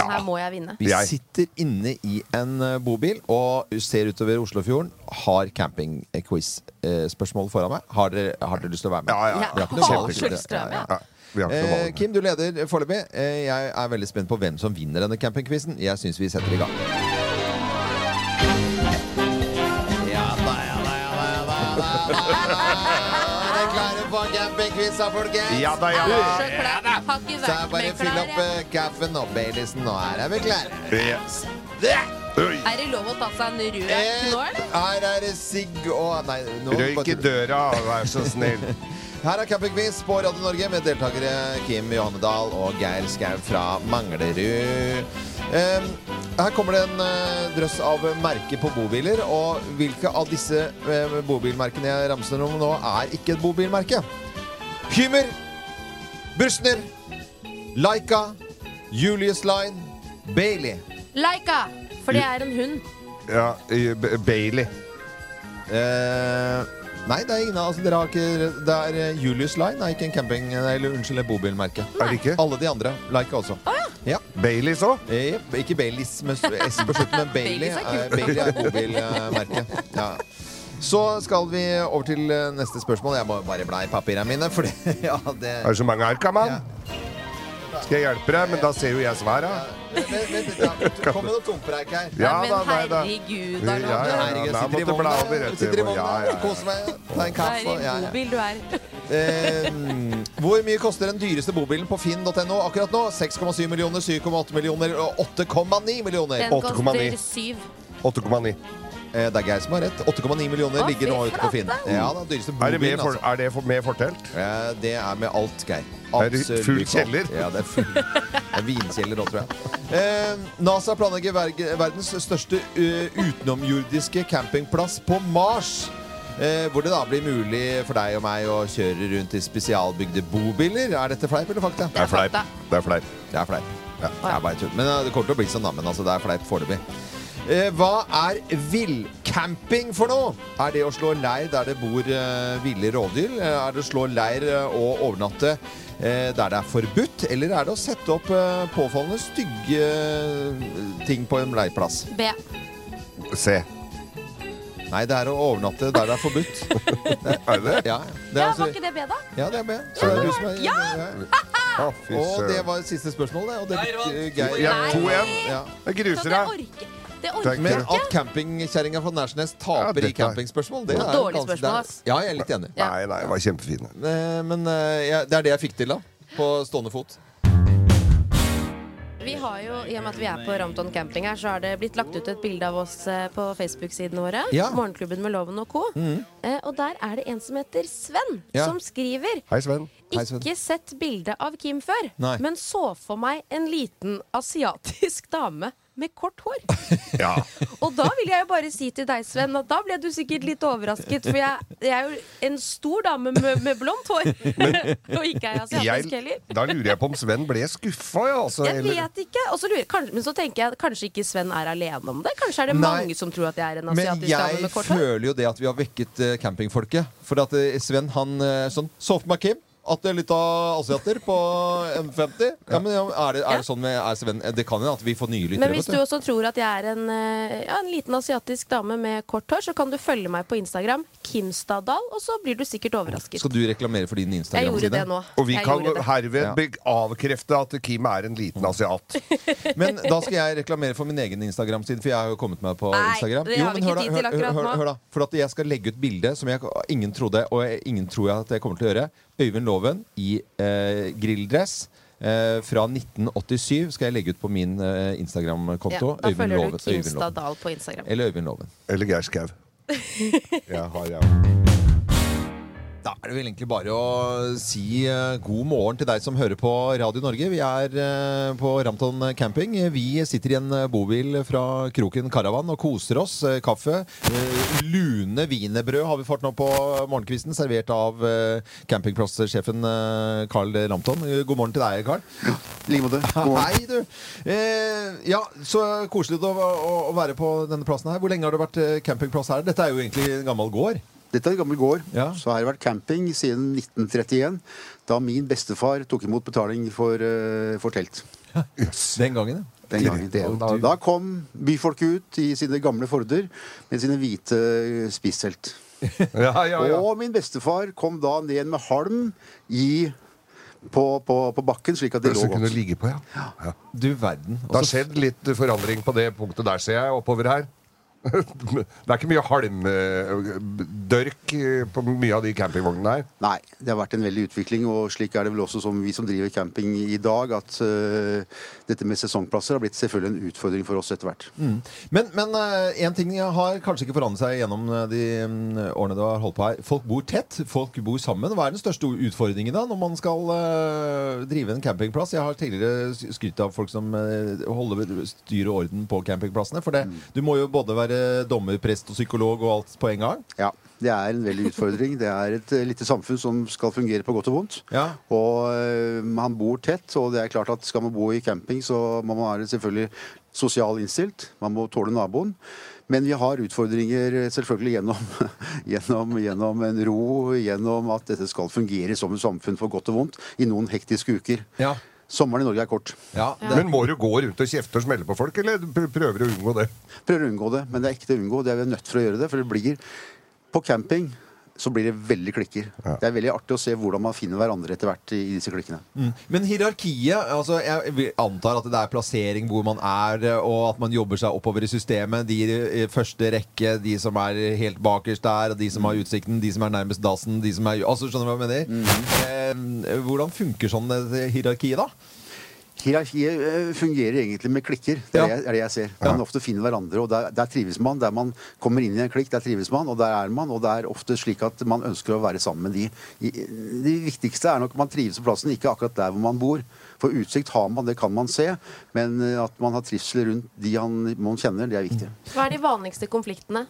Speaker 3: Den her må jeg vinne.
Speaker 1: Vi sitter inne i en eh, bobil og ser utover Oslofjorden. Har eh, campingquiz-spørsmål foran meg. Har dere, har dere lyst til å være med?
Speaker 2: ja, ja.
Speaker 1: Vi har ikke noe
Speaker 2: Ja,
Speaker 1: valg.
Speaker 2: selvfølgelig skal jeg være med. Ja, vi har ikke noe
Speaker 1: Eh,
Speaker 2: valg.
Speaker 1: Kim, du leder foreløpig. Eh, jeg er veldig spent på hvem som vinner denne campingquizen. Jeg syns vi setter i gang. Ja da, ja da, ja da, ja da, ja da. Er dere klare for campingquiz, da, folkens?
Speaker 2: Ja da, ja da.
Speaker 7: Så klart,
Speaker 1: Har ikke vært Så bare fyll opp eh, kaffen og Baileysen, og her er vi klare.
Speaker 2: Yes. Oi.
Speaker 10: Er det lov å ta seg en rød
Speaker 1: Eh,
Speaker 10: nå, eller?
Speaker 1: Her er det sigg og Nei, nå
Speaker 2: Røyk i døra, vær så snill.
Speaker 1: Her er Campingquiz på Radio Norge med deltakere Kim Johannedal og Geir Skau fra Manglerud. Ehm, her kommer det en eh, drøss av merker på bobiler. Og hvilke av disse eh, bobilmerkene jeg ramser om nå, er ikke et bobilmerke? Hymer, Bursner, Laika, Julius Line, Bailey.
Speaker 3: Laika! For det er en hund.
Speaker 2: Ja, i- B- Bailey.
Speaker 1: Eh, nei, det er ingen av altså, dere har ikke Det er eh, Julius Line er ikke en camping Eller unnskyld, et bobilmerke.
Speaker 2: Er det ikke?
Speaker 1: Alle de andre. Like også. ja.
Speaker 2: Baileys òg?
Speaker 1: Jep, ikke Baileys med s- S på slutten, men Bailey.
Speaker 2: Baileys er kult.
Speaker 1: eh, Bailey er bobilmerke. Ja. Så skal vi over til eh, neste spørsmål. Jeg må bare bla i papirene mine, for det, ja, det
Speaker 2: Er det så mange her, Kaman? Skal jeg hjelpe deg? Men da ser jo jeg sværa.
Speaker 1: Kom med noe tompreik her.
Speaker 2: Ja, Nei, men da, nei, da.
Speaker 3: herregud,
Speaker 2: da, Ja, ja, ja,
Speaker 1: Herregud, jeg
Speaker 2: da
Speaker 1: sitter i
Speaker 2: måtte du bla
Speaker 1: vogna,
Speaker 2: over rett
Speaker 1: sitter i
Speaker 2: i
Speaker 1: vogna,
Speaker 2: vogna, ja, ja.
Speaker 1: koser meg, tar en
Speaker 3: Det
Speaker 1: kaffe.
Speaker 3: er
Speaker 1: ja,
Speaker 3: en
Speaker 1: ja.
Speaker 3: bobil du er.
Speaker 1: Eh, hvor mye koster den dyreste bobilen på finn.no akkurat nå? 6,7 millioner, 7,8 millioner og 8,9 millioner.
Speaker 3: Den koster syv.
Speaker 2: 8,9.
Speaker 1: Eh, det er Geir som har rett. 8,9 millioner
Speaker 3: Å, fy
Speaker 1: ligger nå ute på Finn.
Speaker 3: flate.
Speaker 1: Ja, da, dyreste
Speaker 2: Er det
Speaker 1: bobilen,
Speaker 2: med, for,
Speaker 1: altså.
Speaker 2: er det for, med fortelt?
Speaker 1: Eh, det er med alt, Geir.
Speaker 2: Er det
Speaker 1: Absolutt
Speaker 2: full
Speaker 1: alt.
Speaker 2: kjeller?
Speaker 1: Ja, det er full det er vinkjeller nå, tror jeg. Eh, NASA planlegger ver verdens største eh, utenomjordiske campingplass på Mars. Eh, hvor det da blir mulig for deg og meg å kjøre rundt i spesialbygde bobiler. Er dette fleip eller fakta?
Speaker 2: Det er fleip. Det er fleip.
Speaker 1: Det er fleip. Ja, det er bare tull. Men eh, det kommer til å bli sånn, da. Men altså, det er fleip foreløpig. Eh, hva er villcamping for noe? Er det å slå leir der det bor eh, ville rovdyr? Eh, Er det å slå leir eh, og overnatte eh, der det er forbudt? Eller er det å sette opp eh, påfallende stygge eh, ting på en leirplass?
Speaker 3: B.
Speaker 2: Se.
Speaker 1: Nei, det er å overnatte der det er forbudt.
Speaker 2: Er det
Speaker 1: Ja, det er,
Speaker 3: Ja,
Speaker 1: altså-
Speaker 3: var ikke det B, da?
Speaker 1: ja, det er med. Så det er du som er
Speaker 3: Ja!
Speaker 2: Å, fy
Speaker 1: Og det
Speaker 2: søren.
Speaker 1: var siste spørsmål, det. Og det
Speaker 2: Nei,
Speaker 1: Geir-
Speaker 2: Ja, 2-1.
Speaker 1: Ja.
Speaker 2: Jeg
Speaker 3: Så
Speaker 2: gruser
Speaker 3: det
Speaker 2: deg.
Speaker 3: orker, det
Speaker 2: Takk.
Speaker 3: orker
Speaker 1: Men
Speaker 3: jeg
Speaker 1: at
Speaker 3: ikke.
Speaker 1: campingkjerringa fra Nærsnes
Speaker 2: Ja,
Speaker 1: taper
Speaker 2: dette
Speaker 1: i
Speaker 2: er-
Speaker 1: campingspørsmål, det er
Speaker 3: Dårlig
Speaker 1: ganske-
Speaker 3: spørsmål,
Speaker 1: det er-
Speaker 3: ass.
Speaker 1: Ja, jeg er litt enig.
Speaker 2: Nei, nei, det var kjempefine.
Speaker 1: Eh, Men eh, jeg, det er det jeg fikk til, da. På stående fot.
Speaker 3: Vi har jo, I og med at vi er på Ramton camping her, så har det blitt lagt ut et bilde av oss eh, på Facebook-sidene våre.
Speaker 1: Ja.
Speaker 3: Morgenklubben med Loven og co.
Speaker 1: Mhm.
Speaker 3: Eh, og der er det en som heter Sven,
Speaker 1: Ja.
Speaker 3: som skriver
Speaker 2: Hei, Sven.
Speaker 3: ikke sett bilde av Kim før,
Speaker 1: Nei.
Speaker 3: men så for meg en liten asiatisk dame med kort hår.
Speaker 2: Ja.
Speaker 3: Og da vil jeg jo bare si til deg, Sven, at da ble du sikkert litt overrasket, for jeg, jeg er jo en stor dame med, med blondt hår. og ikke er jeg asiatisk
Speaker 2: Jeg,
Speaker 3: heller.
Speaker 2: da lurer jeg på om Sven ble skuffa, ja. Altså,
Speaker 3: Jeg
Speaker 2: eller-
Speaker 3: vet ikke. Og så lurer, jeg- kanskje, men så tenker jeg at kanskje ikke Sven er alene om det. Kanskje er det
Speaker 1: Nei.
Speaker 3: mange som tror at jeg er en
Speaker 1: Men
Speaker 3: asiatisk dame
Speaker 1: jeg
Speaker 3: med kort hår.
Speaker 1: føler jo det at vi har vekket eh, campingfolket. For at eh, Sven, han eh, sånn Så for meg Kim. At det er litt av asiater på M50? Ja, men ja, er, det, er det sånn med er Sven, Det kan hende at vi får nye lyttere.
Speaker 7: Men hvis du også tror at jeg er en, eh, ja, en liten asiatisk dame med kort hår, så kan du følge meg på Instagram, Kimstaddal, og så blir du sikkert overrasket.
Speaker 1: Skal du reklamere for din
Speaker 7: Jeg
Speaker 1: Instagram-side?
Speaker 7: gjorde det nå.
Speaker 1: Og vi
Speaker 7: Jeg
Speaker 1: kan-
Speaker 7: gjorde det.
Speaker 1: herved
Speaker 2: Herved be- avkrefte at Kim er en liten asiat.
Speaker 1: Men da skal jeg reklamere for min egen Instagram-side, for jeg har jo kommet meg på
Speaker 2: Nei,
Speaker 1: Instagram.
Speaker 2: det
Speaker 1: Jo,
Speaker 2: har vi
Speaker 1: men
Speaker 2: ikke
Speaker 1: hør da,
Speaker 2: tid til
Speaker 1: hør-
Speaker 2: akkurat
Speaker 1: hør-
Speaker 2: nå.
Speaker 1: hør da. For at jeg skal legge ut bilde som jeg, ingen trodde, og jeg, ingen tror jeg at jeg kommer til å gjøre. Øyvind Loven i eh, grilldress. eh, fra 1987 skal jeg legge ut på min eh, Instagram-konto.
Speaker 7: da
Speaker 1: Øyvind
Speaker 7: følger du
Speaker 1: Loven. Øyvind Loven.
Speaker 7: Kimstaddal på Instagram.
Speaker 1: Eller Øyvind Loven.
Speaker 2: Eller Geir Skau.
Speaker 1: Jeg har, ja. Da er det vel egentlig bare å si eh, god morgen til deg som hører på Radio Norge. Vi er eh, på Ramton camping. Vi sitter i en eh, bobil fra Kroken Caravan og koser oss. Eh, Kaffe. eh, Lune wienerbrød har vi fått nå på morgenkvisten, servert av eh, campingplasssjefen eh, Carl Ramton. Eh, God morgen til deg, Carl. I like måte. Hei, du. Eh, Ja, så koselig å, å, å være på denne plassen her. Hvor lenge har det vært eh, campingplass her? Dette er jo egentlig en gammel gård.
Speaker 9: Dette er en gammel gård. Så har det vært camping siden 1931, da min bestefar tok imot betaling for, eh, for telt.
Speaker 1: Den gangen, ja.
Speaker 9: Den gangen, det. Da, da kom byfolket ut i sine gamle Forder med sine hvite spisstelt.
Speaker 2: ja, ja.
Speaker 9: Og min bestefar kom da ned med halm i, på, på, på bakken, slik at det lå
Speaker 2: Så kunne
Speaker 9: godt.
Speaker 2: ligge på, ja. ja.
Speaker 1: Du verden.
Speaker 2: Det har skjedd litt forandring på det punktet der, ser jeg, oppover her. Det er ikke mye halmdørk på mye av de campingvognene her.
Speaker 9: Nei, det har vært en veldig utvikling, og slik er det vel også som vi som driver camping i dag, at eh, dette med sesongplasser har blitt selvfølgelig en utfordring for oss etter hvert.
Speaker 1: Mm. Men, men eh, en ting har kanskje ikke forandret seg gjennom eh, de mm, årene du har holdt på her. Folk bor tett, folk bor sammen. Hva er den største utfordringen da når man skal eh, drive en campingplass? Jeg har tidligere s- skrytt av folk som eh, holder styr og orden på campingplassene. For det,
Speaker 9: Mm.
Speaker 1: du må jo både være dommer, prest og psykolog og alt på en gang.
Speaker 9: Ja, det er en veldig utfordring. Det er et eh, lite samfunn som skal fungere på godt og vondt.
Speaker 1: Ja.
Speaker 9: Og eh, man bor tett, og det er klart at skal man bo i camping, så må man være selvfølgelig sosial innstilt. Man må tåle naboen. Men vi har utfordringer eh, selvfølgelig gjennom, gjennom, gjennom en ro, gjennom at dette skal fungere som et samfunn for godt og vondt i noen hektiske uker. Sommeren i Norge er kort.
Speaker 2: Men må du gå rundt og kjefte og smelle på folk, eller pr- prøver du å unngå det?
Speaker 9: Prøver å unngå det, men det er ikke til å unngå. Det er vi nødt for å gjøre det, for det blir På camping så blir det veldig klikker. Det er veldig artig å se hvordan man finner hverandre etter hvert i disse klikkene.
Speaker 1: Mm. Men hierarkiet altså Jeg vil- antar at det er plassering hvor man er, og at man jobber seg oppover i systemet. De i første rekke, de som er helt bakerst der, og de som har utsikten, de som er nærmest dassen de som er, altså Skjønner du hva jeg mener? Eh, hvordan funker sånn eh, hierarki, da?
Speaker 9: Hierarkiet eh, fungerer egentlig med klikker. Det er, det jeg- er det jeg ser. Man ofte finner hverandre, og der, der trives man. Der man kommer inn i en klikk, der trives man, og der er man. Og det er ofte slik at man ønsker å være sammen med de. I- Det viktigste er nok at man trives på plassen, ikke akkurat der hvor man bor. For utsikt har man, det kan man se, men eh, at man har trivsel rundt de han, man kjenner, det er viktig.
Speaker 7: Hva er de vanligste konfliktene?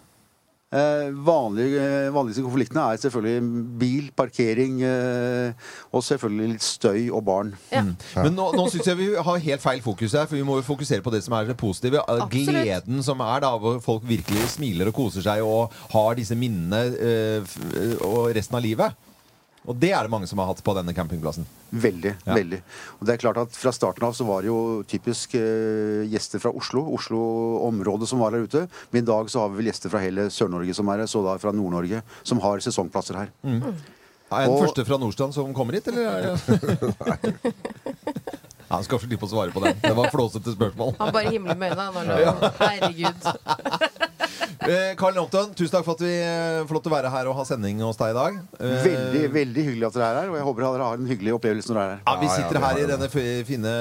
Speaker 9: Eh, vanlige, eh, vanligste konfliktene er selvfølgelig bil, parkering eh, og selvfølgelig litt støy og barn.
Speaker 1: Men nå, nå syns jeg vi har helt feil fokus her, for vi må jo fokusere på det som er det positive. eh, Gleden som er da, hvor folk virkelig smiler og koser seg og har disse minnene eh, f- og resten av livet. Og det er det mange som har hatt på denne campingplassen.
Speaker 9: Veldig.
Speaker 1: Ja.
Speaker 9: veldig. Og det er klart at Fra starten av så var det jo typisk eh, gjester fra Oslo, Oslo-området som var her ute. Men i dag så har vi vel gjester fra hele Sør-Norge som er her, så da fra Nord-Norge, som har sesongplasser her.
Speaker 1: Er den
Speaker 9: Og-
Speaker 1: første fra Nordstrand som kommer hit, eller? Er det... Ja, Han skal slippe å svare på den. Det var flåsete spørsmål.
Speaker 7: Han bare himler med øynene. han
Speaker 1: Ja.
Speaker 7: bare, Herregud.
Speaker 1: Eh, Karl Lomtøn, tusen takk for at vi eh, får lov til å være her og ha sending hos deg i dag. Eh,
Speaker 9: Veldig veldig hyggelig at dere er her, og jeg håper dere har en hyggelig opplevelse når dere er her.
Speaker 1: Ja, vi sitter her i denne f- fine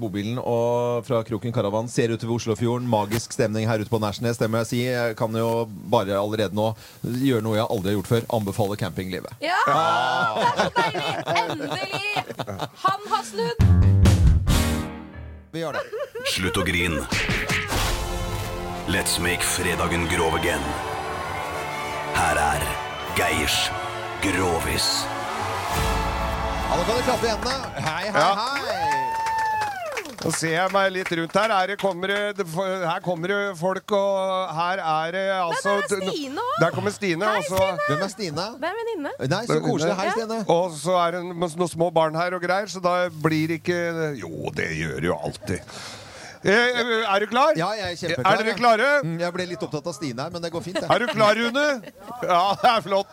Speaker 1: bobilen og fra Kroken Caravan. Ser utover Oslofjorden. Magisk stemning her ute på Nærsnes, det må jeg si. Jeg kan jo bare allerede nå gjøre noe jeg aldri har gjort før. Anbefale campinglivet.
Speaker 12: Ja!
Speaker 1: Ah.
Speaker 12: Endelig! Han har snudd!
Speaker 1: Vi gjør det.
Speaker 13: Slutt å grine. Let's make fredagen grov again. Her er Geirs Grovis.
Speaker 1: Ja, nå kan du klappe i hendene. Hei, hei, hei.
Speaker 2: Nå ser jeg meg litt rundt her. Her kommer det, her kommer det folk, og her er det altså
Speaker 7: der er Stine også.
Speaker 2: Der kommer Stine.
Speaker 7: Hei,
Speaker 2: altså.
Speaker 7: Stine. Hvem er
Speaker 11: Stine?
Speaker 3: Det er venninne.
Speaker 11: Nei, så koselig. Hei,
Speaker 3: Ja.
Speaker 11: Stine.
Speaker 2: Og så er det noen noen små barn her og greier, så da blir ikke Jo, det gjør det jo alltid. Eh, Er du klar?
Speaker 11: Ja, jeg er kjempeklar.
Speaker 2: Er dere klare?
Speaker 11: Mm, Jeg ble litt opptatt av Stine her, men det går fint. det.
Speaker 2: Er du klar, Rune? Ja, det er flott.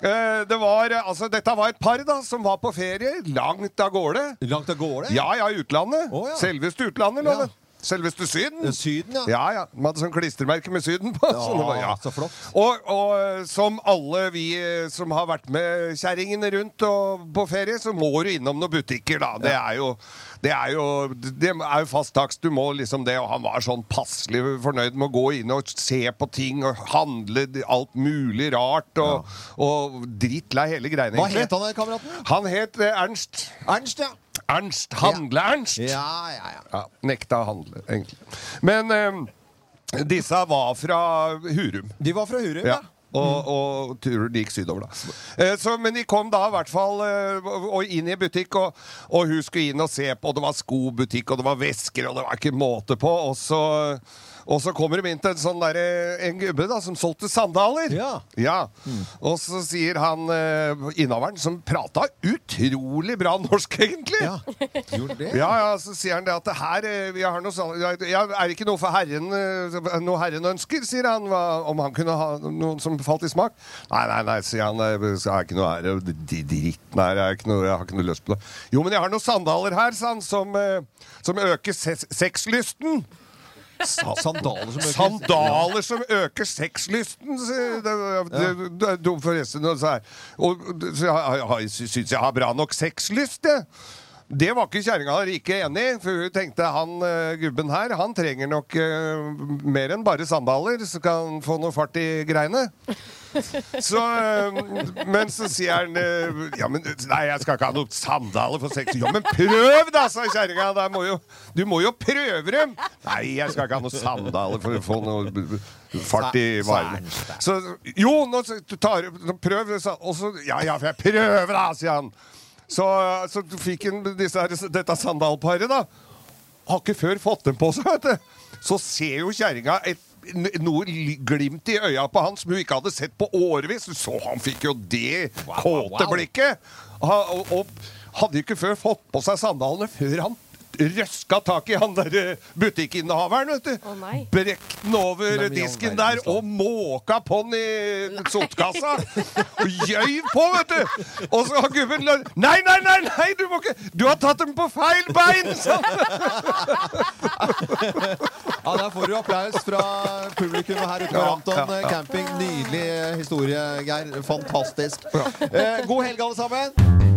Speaker 2: Eh, Det var, eh, altså, dette var et par da, som var på ferie langt av gårde.
Speaker 11: Langt av gårde?
Speaker 2: Ja, ja, utlandet. Selveste utlandet, loven. Selveste Syden.
Speaker 11: Eh, Syden, ja.
Speaker 2: ja, De hadde sånn klistremerke med Syden på. så det var-
Speaker 11: Ja, så flott.
Speaker 2: Og, og eh, som alle vi eh, som har vært med kjerringene rundt og på ferie, så må du innom noen butikker, da. Det er jo, det er jo, det er jo fast takst. Du må liksom det. Og han var sånn passelig fornøyd med å gå inn og se på ting og handle alt mulig rart. Og, og drittlei hele greiene,
Speaker 11: Hva het han der, kameraten?
Speaker 2: Han het eh, Ernst.
Speaker 11: Ernst, ja.
Speaker 2: Ernst. Handle-Ernst.
Speaker 11: Ja, ja, ja.
Speaker 2: Ja, nekta å handle, egentlig. Men eh, disse var fra Hurum.
Speaker 11: De var fra Hurum,
Speaker 2: ja. Og, og turen gikk sydover, da. Eh, så, men de kom da i hvert fall eh, og- og inn i en butikk, og, og hun skulle inn og se på, og det var skobutikk, og det var vesker, og det var ikke måte på. Og så, og så kommer de inn til en sånn derre en gubbe da, som solgte sandaler. Ja. Og så sier han eh, innehaveren, som prata utrolig bra norsk, egentlig. Ja, ja, så sier han det at det her eh, vi har noe sånn, ja, Er det ikke noe for herren eh, Noe herren ønsker, sier han hva, Om han kunne ha noen som falt i smak Nei, nei, nei, sier han eh, Jeg har ikke noe her eh, d- Dritten her, jeg har ikke noe, jeg har ikke noe lyst på det Jo, men jeg har noen sandaler her, sa han Som, eh, som øker ses- sexlysten
Speaker 11: Sa- sandaler som øker-
Speaker 2: Sandaler som øker sexlysten sier- det, det, det er dumt forresten og så her. Og så jeg, jeg syns jeg har bra nok sexlyst jeg. Det var ikke kjerringa ikke enig i, for hun tenkte han eh, gubben her han trenger nok eh, mer enn bare sandaler, så kan han få noe fart i greiene. Så, eh, men så sier han eh, Ja, men nei, jeg skal ikke ha noen sandaler for sex. Ja, men prøv, da, sa kjerringa. Da må jo- Du må jo prøve dem! Nei, jeg skal ikke ha noen sandaler for å få noe b- b- fart i varene. Så jo, nå s- du tar nå Prøv, sa Og så Ja, ja, for jeg prøver, da, sier han. Så, så fikk han disse, her- dette sandalparet, da. Har ikke før fått dem på seg, vet du. Så ser jo kjerringa et n- noe li- glimt i øya på han som hun ikke hadde sett på årevis. Du Så han fikk jo det kåte
Speaker 11: wow.
Speaker 2: blikket! Ha- Og, og hadde ikke før fått på seg sandalene før han røska tak i han der eh, butikkinnehaveren, vet du.
Speaker 3: nei.
Speaker 2: Brekte den over
Speaker 11: Nei, men i all
Speaker 2: disken der og måka på'n i sotkassa. Og gjøyv på, vet du! Og så har gubben lønn... Nei, nei, nei, nei, du må ikke Du har tatt dem på feil bein! sa han.
Speaker 11: Ja, Der får du applaus fra publikummet her ute på
Speaker 2: Ja,
Speaker 11: Ramton
Speaker 2: ja, ja.
Speaker 11: camping. Nydelig eh, historie, Geir. Fantastisk. Eh, god helg, alle sammen.